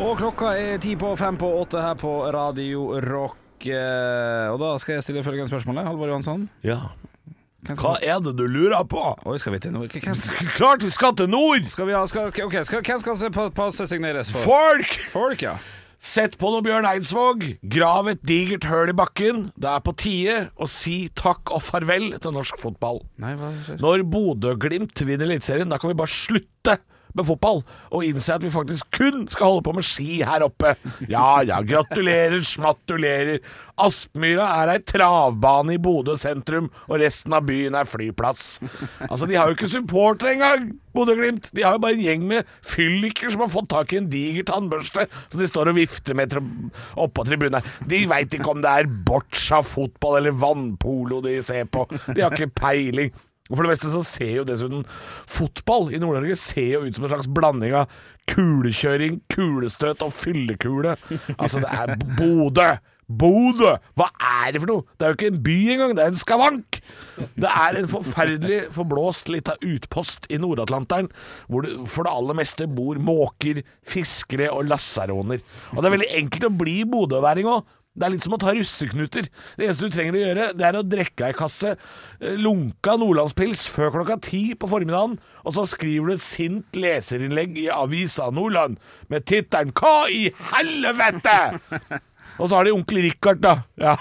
S3: Og klokka er ti på fem på åtte her på Radio Rock. eh, Og da skal jeg stille følgende spørsmål. eh, Halvor Johansson.
S4: Ja.
S3: Hvem skal...
S4: er det du lurer på?
S3: Oi, skal vi til Nord... Hvem skal,
S4: Klart vi skal til nord!
S3: skal vi ha skal, Ok, skal, hvem skal se pa- passe signeres for?
S4: Folk!
S3: Folk, ja.
S4: Sett på noe Bjørn Eidsvåg. Grav et digert høl i bakken. Det er på tide å si takk og farvel til norsk fotball.
S3: Nei, hva skjer?
S4: Når Bodø-Glimt vinner Eliteserien, da kan vi bare slutte med fotball og innse at vi faktisk kun skal holde på med ski her oppe. Ja ja, gratulerer, smatulerer. Aspmyra er ei travbane i Bodø sentrum, og resten av byen er flyplass. Altså, de har jo ikke supportere engang, Bodø-Glimt. De har jo bare en gjeng med fylliker som har fått tak i en diger tannbørste, så de står og vifter med tri- oppå tribunen her. De veit ikke om det er boccia fotball eller vannpolo de ser på. De har ikke peiling. Og for det meste så ser jo dessuten fotball i Nord-Norge ser jo ut som en slags blanding av kulekjøring, kulestøt og fyllekule. Altså, det er Bodø! Bodø! Hva er det for noe? Det er jo ikke en by engang, det er en skavank! Det er en forferdelig forblåst lita utpost i Nord-Atlanteren, hvor det for det aller meste bor måker, fiskere og lasaroner. Og det er veldig enkelt å bli bodøværing òg. Det er litt som å ta russeknuter. Det eneste du trenger å gjøre, det er å drikke ei kasse eh, lunka nordlandspils før klokka ti på formiddagen, og så skriver du et sint leserinnlegg i Avisa Nordland med tittelen 'Hva i helvete?' Og så har de onkel Richard, da. Ja.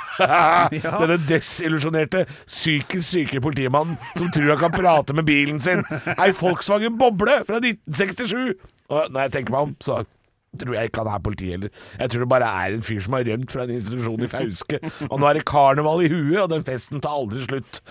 S4: Denne desillusjonerte, psykisk syke politimannen som tror han kan prate med bilen sin. Ei Volkswagen Boble fra 1967! Og når jeg tenker meg om, så tror jeg ikke han er politi heller. Jeg tror det bare er en fyr som har rømt fra en institusjon i Fauske. Og nå er det karneval i huet, og den festen tar aldri slutt.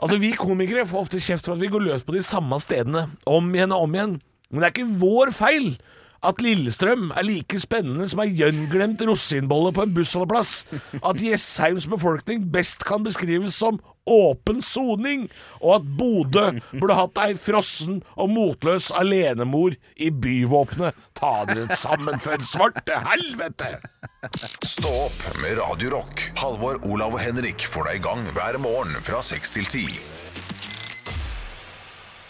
S4: Altså, vi komikere får ofte kjeft for at vi går løs på de samme stedene om igjen og om igjen. Men det er ikke vår feil at Lillestrøm er like spennende som ei gjønglemt rosinbolle på en bussholdeplass. At Jesseheims befolkning best kan beskrives som åpen soning. Og at Bodø burde hatt ei frossen og motløs alenemor i byvåpenet. Ta dere sammen for svarte helvete!
S1: Stå opp med Radio Rock. Halvor, Olav og Henrik får deg i gang hver morgen fra 6 til 10.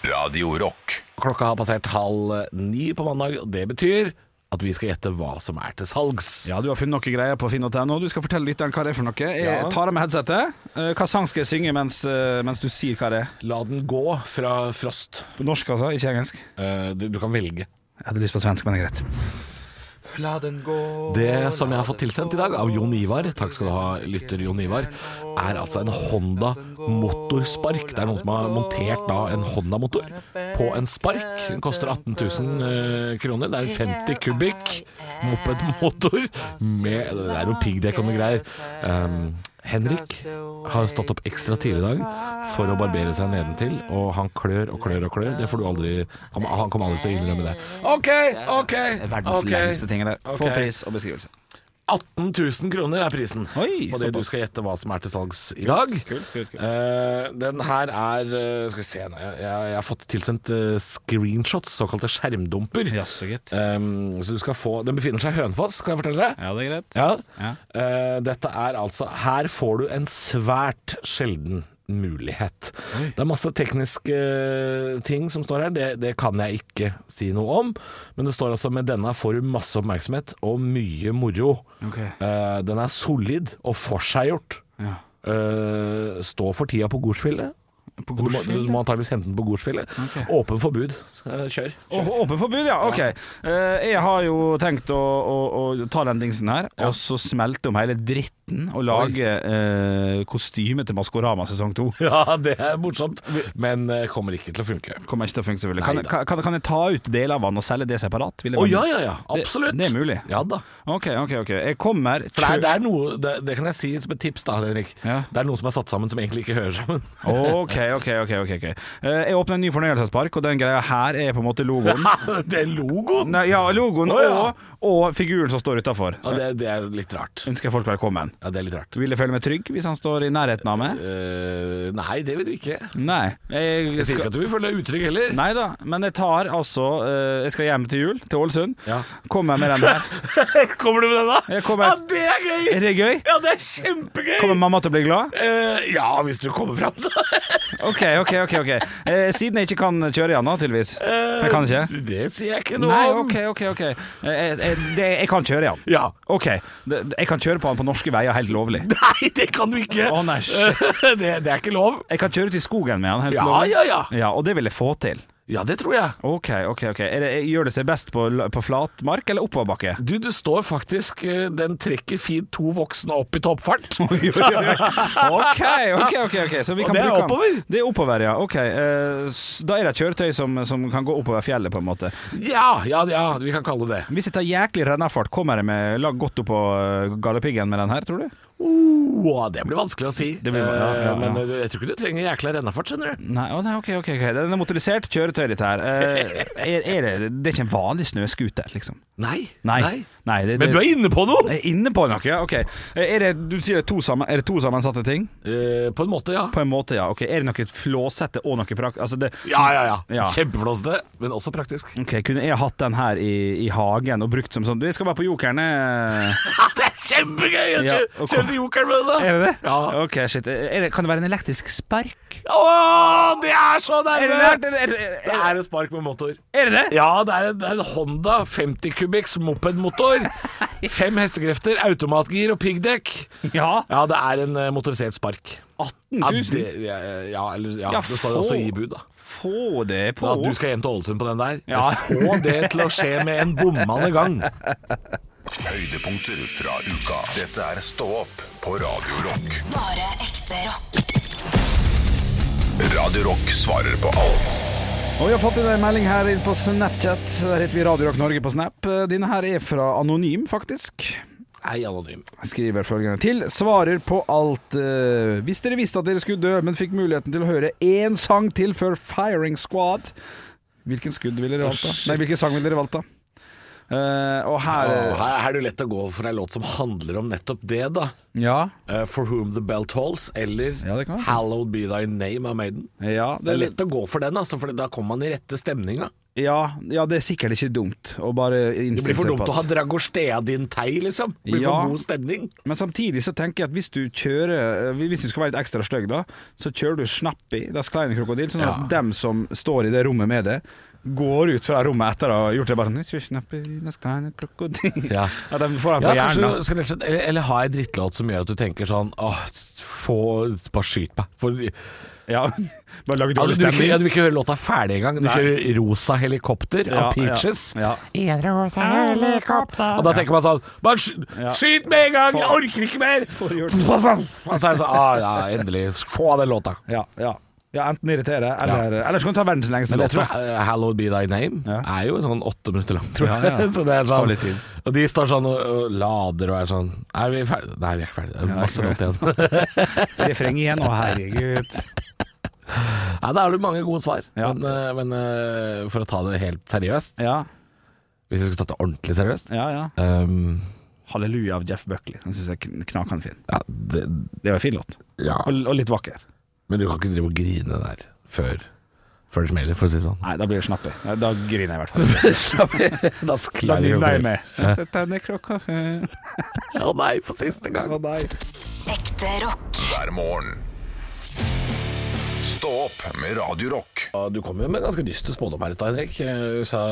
S1: Radio Rock.
S4: Klokka har passert halv ni på mandag, og det betyr at vi skal gjette hva som er til salgs.
S3: Ja, du har funnet noen greier på finn.no. Du skal fortelle lytteren hva det er for noe. Jeg tar av meg headsetet. Eh, Hva sang skal jeg synge mens, eh, mens du sier hva det er?
S4: La den gå fra Frost.
S3: På norsk, altså, ikke engelsk.
S4: Eh, du, du kan velge.
S3: Jeg hadde lyst på svensk, men det er greit.
S4: Det som jeg har fått tilsendt i dag av Jon Ivar, takk skal du ha, lytter Jon Ivar, er altså en Honda motorspark. Det er noen som har montert da en Honda-motor på en spark. Den koster 18 000 eh, kroner. Det er en 50 kubikk mopedmotor med Det er jo piggdekk og noe greier. Um, Henrik har stått opp ekstra tidlig i dag for å barbere seg nedentil, og han klør og klør og klør. Det får du aldri Han kommer aldri til å innrømme det. OK, OK.
S3: Verdens
S4: ok.
S3: lengste ting er det. Få
S4: Ok.
S3: pris og beskrivelse.
S4: 18 000 kroner er prisen
S3: Oi,
S4: på det
S3: såpass.
S4: du skal gjette hva som er til salgs i dag.
S3: kult, kult, kult.
S4: Eh, den her er eh, Skal vi se nå, jeg, jeg, jeg har fått tilsendt eh, screenshots, såkalte skjermdumper.
S3: Jaså, gitt.
S4: Eh, så du skal få Den befinner seg i Hønefoss, kan jeg fortelle deg.
S3: Ja, det er greit.
S4: Ja.
S3: Ja.
S4: Eh, dette er altså Her får du en svært sjelden mulighet. Det er masse tekniske eh, ting som står her, det, det kan jeg ikke si noe om. Men det står altså med denne får du masse oppmerksomhet og mye moro.
S3: Ok.
S4: Eh, den er solid og forseggjort.
S3: Ja.
S4: Eh, stå for tida på godsfjellet.
S3: På
S4: Du må, du
S3: Gorsfjell?
S4: må antakeligvis hente den på Gorsfjellet.
S3: Ok.
S4: Åpen forbud. Eh, Kjør.
S3: Å, Åpen forbud, ja. Ok. Eh, jeg har jo tenkt å, å, å ta den dingsen her, og så smelte om hele dritten og lage eh, kostyme til Maskorama sesong to.
S4: Ja, det er morsomt, men eh, kommer ikke til å funke.
S3: Kommer ikke til å funke, selvfølgelig. Kan,
S4: Neida.
S3: kan, kan, kan jeg ta ut deler av den og selge det separat? Vil det
S4: Å
S3: være-
S4: ja, ja, ja.
S3: Det-
S4: Absolutt.
S3: det er mulig.
S4: Ja da.
S3: Ok, ok, ok. Jeg kommer
S4: For det er, det er noe det, det kan jeg si som et tips, da, Henrik.
S3: Ja.
S4: Det er noe som er satt sammen som egentlig ikke hører sammen.
S3: Ok, ok, ok. ok, ok. Eh, jeg åpner en ny fornøyelsespark, og den greia her er på en måte logoen.
S4: det er logoen!
S3: Nei, ja, logoen
S4: Å, ja.
S3: og, og figuren som står utafor.
S4: Ja, det, det er litt rart.
S3: Ønsker jeg folk velkommen.
S4: Ja, det er litt rart.
S3: Vil jeg føle meg trygg hvis han står i nærheten av meg?
S4: Eh, nei, det vil du ikke.
S3: Nei. Jeg
S4: Jeg sier ikke
S3: skal
S4: at du vil føle deg utrygg heller.
S3: Nei da, men jeg tar altså eh, Jeg skal hjem til jul, til Ålesund.
S4: Ja.
S3: Kommer jeg med den her.
S4: Kommer du med den, da?
S3: Jeg kommer-
S4: Ja, det er gøy!
S3: Er det gøy?
S4: Ja, det er kjempegøy!
S3: Kommer mamma til å bli glad?
S4: Eh, ja, hvis du kommer fram, så.
S3: OK, OK. ok, ok Eh, Siden jeg ikke kan kjøre igjen nå, tydeligvis. For Jeg kan ikke?
S4: Eh, Det sier jeg ikke noe
S3: Nei,
S4: om.
S3: OK, OK. ok Eh, jeg, jeg, det, jeg kan kjøre igjen.
S4: Ja.
S3: OK. Det, det- jeg kan kjøre på han på norske veier helt lovlig.
S4: Nei, det kan du ikke.
S3: Å, nei, shit.
S4: det, det er ikke lov.
S3: Jeg kan kjøre ut i skogen med han helt
S4: Ja,
S3: lovlig.
S4: ja, ja.
S3: Ja, Og det vil jeg få til.
S4: Ja, det tror jeg.
S3: OK, ok, ok er det, Gjør det seg best på, l- på flat mark eller oppoverbakke?
S4: Du, det står faktisk eh, Den trekker fint to voksne opp i toppfart.
S3: OK, ok, ok, ok Så vi
S4: Og
S3: kan
S4: det er
S3: bruke han.
S4: oppover.
S3: Det er oppover, ja. Ok eh, s- Da er det et kjøretøy som, som kan gå oppover fjellet, på en måte.
S4: Ja, ja, ja, vi kan kalle det det.
S3: Hvis jeg tar jæklig rennafart, kommer jeg med lag godt opp på eh, Galdhøpiggen med den her, tror du?
S4: Oh, det blir vanskelig å si.
S3: Det blir- ja, ja,
S4: Eh, Men
S3: ja.
S4: eh, jeg tror ikke du trenger jækla rennafart, skjønner du.
S3: Nei, å, nei ok, ok, ok Den er motorisert kjøretøy, dette her. Eh, er, er det, det er ikke en vanlig snøscooter, liksom?
S4: Nei.
S3: Nei. Nei, det,
S4: Men du er inne på noe!
S3: Jeg er inne på noe, ja. Ok. Er det, du sier det er to, sammen, er det to sammensatte ting?
S4: Eh, på en måte, ja.
S3: På en måte, ja. Ok, Er det noe flåsete og noe prakt... Altså det,
S4: Ja, ja, ja.
S3: Ja.
S4: Kjempeflåsete, men også praktisk.
S3: Ok, Kunne jeg hatt den her i, i hagen og brukt som sånn Du, jeg skal være på Jokeren, eh.
S4: det er kjempegøy! å
S3: Ja,
S4: kjø-
S3: og
S4: Kjøre
S3: kom-
S4: til jokeren med det, da.
S3: Er det det?
S4: Ja.
S3: Ok, shit. Er det, kan det være en elektrisk spark?
S4: Å, det er så
S3: Er
S4: nærme!
S3: det nært, eller er det,
S4: Det
S3: er,
S4: er en spark med motor.
S3: er det det?
S4: Ja, det er en, det er en Honda 50 kubikks mopedmotor. Fem hestekrefter, automatgir og piggdekk.
S3: Ja.
S4: Ja, det er en eh, motorisert spark.
S3: 18
S4: Ja,
S3: 000?
S4: det, ja, ja, eller, ja,
S3: Ja,
S4: det står
S3: få-
S4: også i bud, da.
S3: Få det på.
S4: At du skal hjem til Ålesund på den der.
S3: Ja.
S4: Få det til å skje med en bommende gang.
S1: Høydepunkter fra uka. Dette er Stå opp på Radio Rock.
S2: Bare ekte rock.
S1: Radio Rock svarer på alt.
S3: Og Vi har fått inn en melding her inn på Snapchat. Der heter vi Radio Rock Norge på Snap. Eh, Denne her er fra Anonym, faktisk.
S4: Hei, anonym.
S3: skriver følgende til. Svarer på alt. eh, hvis dere visste at dere skulle dø, men fikk muligheten til å høre én sang til før Firing Squad, hvilken skudd ville dere valgt da?
S4: shit.
S3: Nei, hvilken sang ville dere valgt da? Eh, og her
S4: Å, her her er det lett å gå for ei låt som handler om nettopp det, da.
S3: Ja.
S4: Eh, For Whom The Bell Tolls, eller
S3: Ja, det kan være.
S4: Hallowed Be Thy Name av Maiden.
S3: Ja
S4: Det er
S3: det,
S4: lett å gå for den, altså, for da kommer man i rette stemninga.
S3: ja, ja, det er sikkert ikke dumt å bare
S4: Det
S3: innstille
S4: blir for
S3: seg på
S4: dumt å ha
S3: at
S4: Dragostea din tei, liksom. Det blir
S3: Ja.
S4: for god stemning.
S3: Men samtidig så tenker jeg at hvis du kjører eh, Hvis du skal være litt ekstra stygg, da, så kjører du Snappi, Das Kleine Krokodil, sånn at
S4: Ja.
S3: dem som står i det rommet med det, går ut fra rommet etter å ha gjort det bare sånn «Jeg kjører Snappi, Das Kleine Krokodil
S4: Ja.
S3: At de får den på
S4: Ja, kanskje
S3: hjernen.
S4: du skal rett og slett Eller, eller ha ei drittlåt som gjør at du tenker sånn Åh, få Bare skyt meg. For,
S3: Ja. bare lage
S4: ja, du,
S3: dårlig
S4: vil ikke,
S3: stemning.
S4: ja, du vil ikke høre låta ferdig engang. Du
S3: Nei.
S4: kjører Rosa helikopter
S3: Ja,
S4: av Peaches.
S3: Ja,
S4: En rosa helikopter Og da tenker man sånn Bare sky,
S3: Ja.
S4: skyt med en gang! Jeg
S3: Få-
S4: orker ikke mer!
S3: gjort.
S4: Og så er det sånn Å ja, endelig. Få av den låta.
S3: ja, ja. ja, enten irritere, eller Eller så kan du ta verdens lengste
S4: Men
S3: låt.
S4: jeg tror
S3: da.
S4: eh, Hallowed Be Thy Name
S3: Ja.
S4: er jo sånn åtte minutter lang, tror jeg.
S3: Ja, ja.
S4: så det er
S3: Og
S4: sånn,
S3: litt til.
S4: og de står sånn og, og lader og er sånn Er vi ferdige? Nei, vi er ikke ferdige. Det er masse låt igjen.
S3: Refreng igjen, å herregud.
S4: Nei, da har du mange gode svar.
S3: Ja.
S4: Men, eh, men eh, for å ta det helt seriøst,
S3: Ja,
S4: hvis vi skulle tatt det ordentlig seriøst
S3: ja. ja.
S4: ehm,
S3: Halleluja av Jeff Buckley. Den syns jeg er knakende fin.
S4: ja, det,
S3: Det var en fin låt.
S4: ja.
S3: Og, og litt vakker.
S4: Men du kan ikke drive og grine der før, før det smeller, for å si det sånn.
S3: Nei, da blir det snappe. Nei, Da griner jeg i hvert fall.
S4: da
S3: Da
S4: sklir
S3: nynner jeg
S4: over.
S3: med. Dette er klokka Å
S4: Å nei, for siste gang.
S3: nei.
S2: Ekte rock.
S1: hver morgen. Stå opp med Radio Rock.
S4: Ja, Du kom jo med en ganske dyster spådom her i stad, Henrik. Eh, Du sa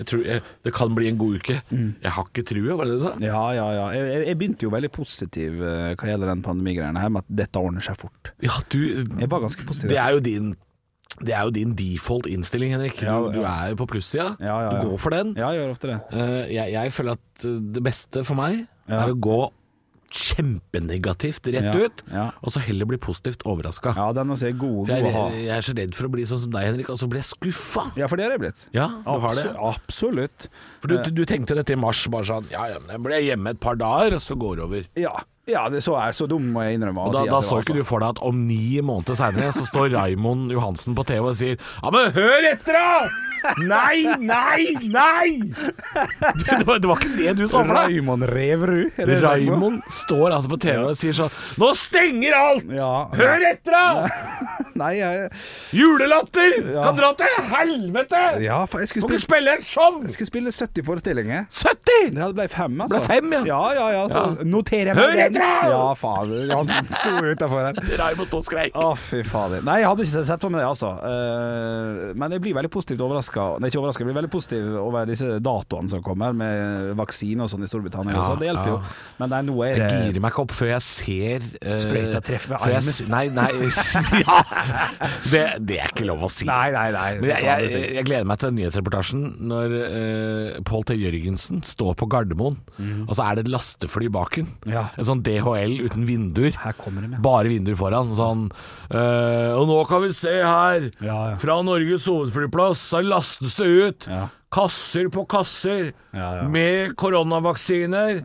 S4: Jeg tror jeg, det kan bli en god uke. Jeg har ikke trua, var det det du sa?
S3: Mm. Ja, ja, ja. Jeg, jeg- jeg begynte jo veldig positiv eh, hva gjelder den pandemigreiene her, med at dette ordner seg fort.
S4: Ja,
S3: Jeg
S4: du
S3: var ganske positiv.
S4: Det er jo din det er jo din default innstilling, Henrik. Du,
S3: Ja, ja.
S4: du er jo på plussida.
S3: Ja, ja, ja.
S4: Du går for den.
S3: Ja, jeg gjør ofte det.
S4: Eh, jeg, jeg føler at eh, det beste for meg
S3: Ja.
S4: er å gå kjempenegativt rett
S3: Ja,
S4: ut,
S3: ja.
S4: og så heller bli positivt overraska.
S3: Ja, den også er god,
S4: Jeg,
S3: god å ha.
S4: er- jeg er så redd for å bli sånn som deg, Henrik, og så blir jeg skuffa.
S3: Ja, for det har jeg blitt.
S4: Ja, du har det.
S3: Abso- Absolutt.
S4: For du,
S3: Eh.
S4: du, du tenkte jo dette i mars, bare sånn Ja, ja, men da blir jeg hjemme et par dager, og så går det over.
S3: Ja, ja det så jeg så dum, må jeg innrømme.
S4: Og da, da så
S3: altså-
S4: ikke du for deg at om ni måneder seinere så står Raimond Johansen på TV og sier Ja, men hør etter, da! Nei, nei, nei! Det, det, var, det var ikke det du så for deg.
S3: Raymond Reverud? er det det heter?
S4: Raimond står altså på TV og sier sånn Nå stenger alt!
S3: Ja.
S4: Hør etter, da!
S3: Nei, jeg
S4: Julelatter!
S3: Ja.
S4: Kan dra til helvete!
S3: Ja, for jeg skulle
S4: Må ikke
S3: spille,
S4: spille et show!
S3: jeg skulle spille 70 forestillinger.
S4: 70!
S3: Ja, det ble fem, altså.
S4: Ble fem, ja.
S3: Ja, ja, ja. Så
S4: Ja.
S3: noterer jeg
S4: Hør etter, da!
S3: Ja, fader. Han sto utafor her.
S4: Raimond stå og skreik.
S3: Å, fy fader. Nei, jeg hadde ikke sett på meg det, altså. Eh, Men jeg blir veldig positivt overraska. Nei, ikke overraska, jeg blir veldig positiv over disse datoene som kommer, med vaksine og sånn i Storbritannia.
S4: Ja,
S3: så det hjelper
S4: ja.
S3: jo. Men nei, nå er
S4: Jeg
S3: det
S4: girer meg ikke opp før jeg ser uh,
S3: Eh, Sprøyta treffer med armen.
S4: Nei, nei ja, det, det er ikke lov å si.
S3: Nei, nei, nei.
S4: Men jeg, jeg, jeg, jeg gleder meg til nyhetsreportasjen når uh, Pål T. Jørgensen står på Gardermoen, og så er det et lastefly bak den.
S3: Mhm. Ja.
S4: En sånn DHL uten vinduer.
S3: Her kommer de, ja.
S4: Bare vinduer foran. Sånn eh, Og nå kan vi se her,
S3: Ja, ja.
S4: fra Norges hovedflyplass, så lastes det ut.
S3: Ja.
S4: Kasser på kasser
S3: Ja, ja.
S4: med koronavaksiner.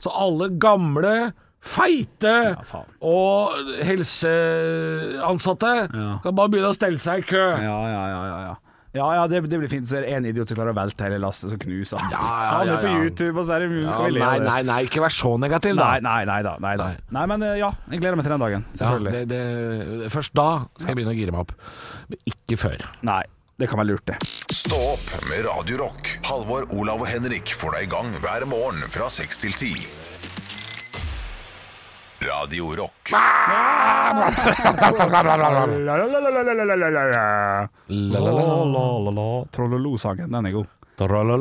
S4: Så alle gamle, feite
S3: faen.
S4: og helseansatte
S3: Ja.
S4: kan bare begynne å stelle seg i kø.
S3: Ja, ja, ja. ja, ja. Ja, ja, det, det blir fint. Så er det én idiot som klarer å velte hele lasset, så knuser han.
S4: Ja, ja, ja,
S3: Han er på
S4: ja.
S3: YouTube, og så er det
S4: Ja,
S3: kan vi le
S4: nei,
S3: av det.
S4: nei, nei, ikke vær så negativ, da.
S3: Nei, nei, nei da. Nei, da.
S4: Nei.
S3: nei men eh, ja, jeg gleder meg til den dagen.
S4: Ja,
S3: Selvfølgelig.
S4: det, det, først da skal jeg begynne å gire meg opp. Men ikke før.
S3: Nei, det kan være lurt, det.
S1: Stå opp med Radio Rock. Halvor, Olav og Henrik får deg i gang hver morgen fra 6 til 10. Radio Rock.
S3: La-la-la-la-la-la-la. Trollolo-sangen, den er god. Ja, den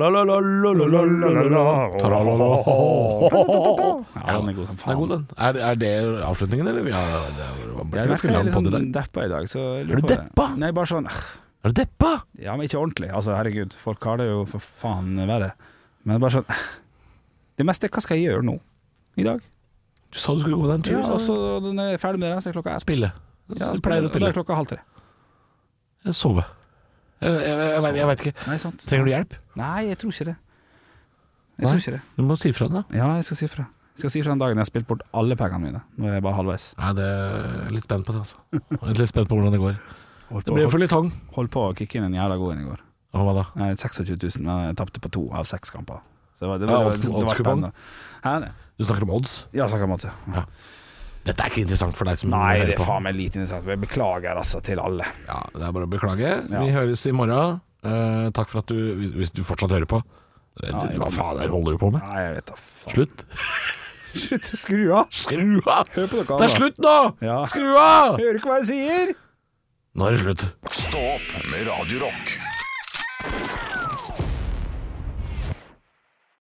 S3: er god som
S4: Det er god,
S3: faen.
S4: den. Er, er det avslutningen, eller? Ja, det var
S3: Jeg
S4: ganske
S3: virker
S4: lang
S3: litt
S4: podd i
S3: sånn
S4: dag.
S3: deppa i dag. Så jeg
S4: Er
S3: lurer
S4: du
S3: på det.
S4: deppa?
S3: Nei, bare sånn eh,
S4: Er du deppa?
S3: Ja, men ikke ordentlig. Altså, herregud, folk har det jo for faen verre. Men bare sånn eh, Det meste er hva skal jeg gjøre nå? I dag?
S4: Du sa du skulle gå deg en tur.
S3: Ja,
S4: sa du.
S3: og så og når jeg er ferdig med det, så er klokka ett.
S4: spille.
S3: Ja,
S4: du pleier å
S3: Da
S4: spille.
S3: er klokka halv tre.
S4: Sove. Jeg, jeg, jeg, jeg, vet, jeg vet ikke.
S3: Nei, sant.
S4: Trenger du hjelp?
S3: Nei, jeg tror ikke det. Jeg
S4: Nei?
S3: tror ikke det.
S4: Du må si ifra, da.
S3: Ja, jeg skal si fra. Jeg skal si fra den dagen jeg har spilt bort alle pengene mine. Nå er jeg bare halvveis.
S4: Nei, det er litt spent på det, altså. Jeg er Litt spent på hvordan det går.
S3: Holdt
S4: Det
S3: på,
S4: blir
S3: holdt,
S4: for litt tong.
S3: holdt på å kicke inn en jævla god en i går.
S4: Hva da?
S3: Nei, 26 000, men jeg tapte på to av seks kamper. Så det var, det
S4: Ja,
S3: var,
S4: odds-
S3: det var, det var
S4: oddskupong.
S3: spennende. Hæ?
S4: Du snakker om odds?
S3: Ja, snakka om odds, ja.
S4: Dette er ikke interessant for deg som
S3: Nei,
S4: hører
S3: det er
S4: på.
S3: faen meg lite interessant. Jeg beklager altså til alle.
S4: Ja, det er bare å beklage.
S3: Ja.
S4: Vi høres i morgen. Eh, takk for at du hvis- Hvis du fortsatt hører på. Det- det- Hva faen er det holder du på med?
S3: Nei, jeg vet da faen.
S4: Slutt.
S3: Slutt, skru av!
S4: Skru av!
S3: Hør på dere,
S4: Det er slutt nå!
S3: Ja.
S4: Skru av!
S3: Hører du ikke hva jeg sier?
S4: Nå er det slutt.
S1: Stå opp med Radio Rock.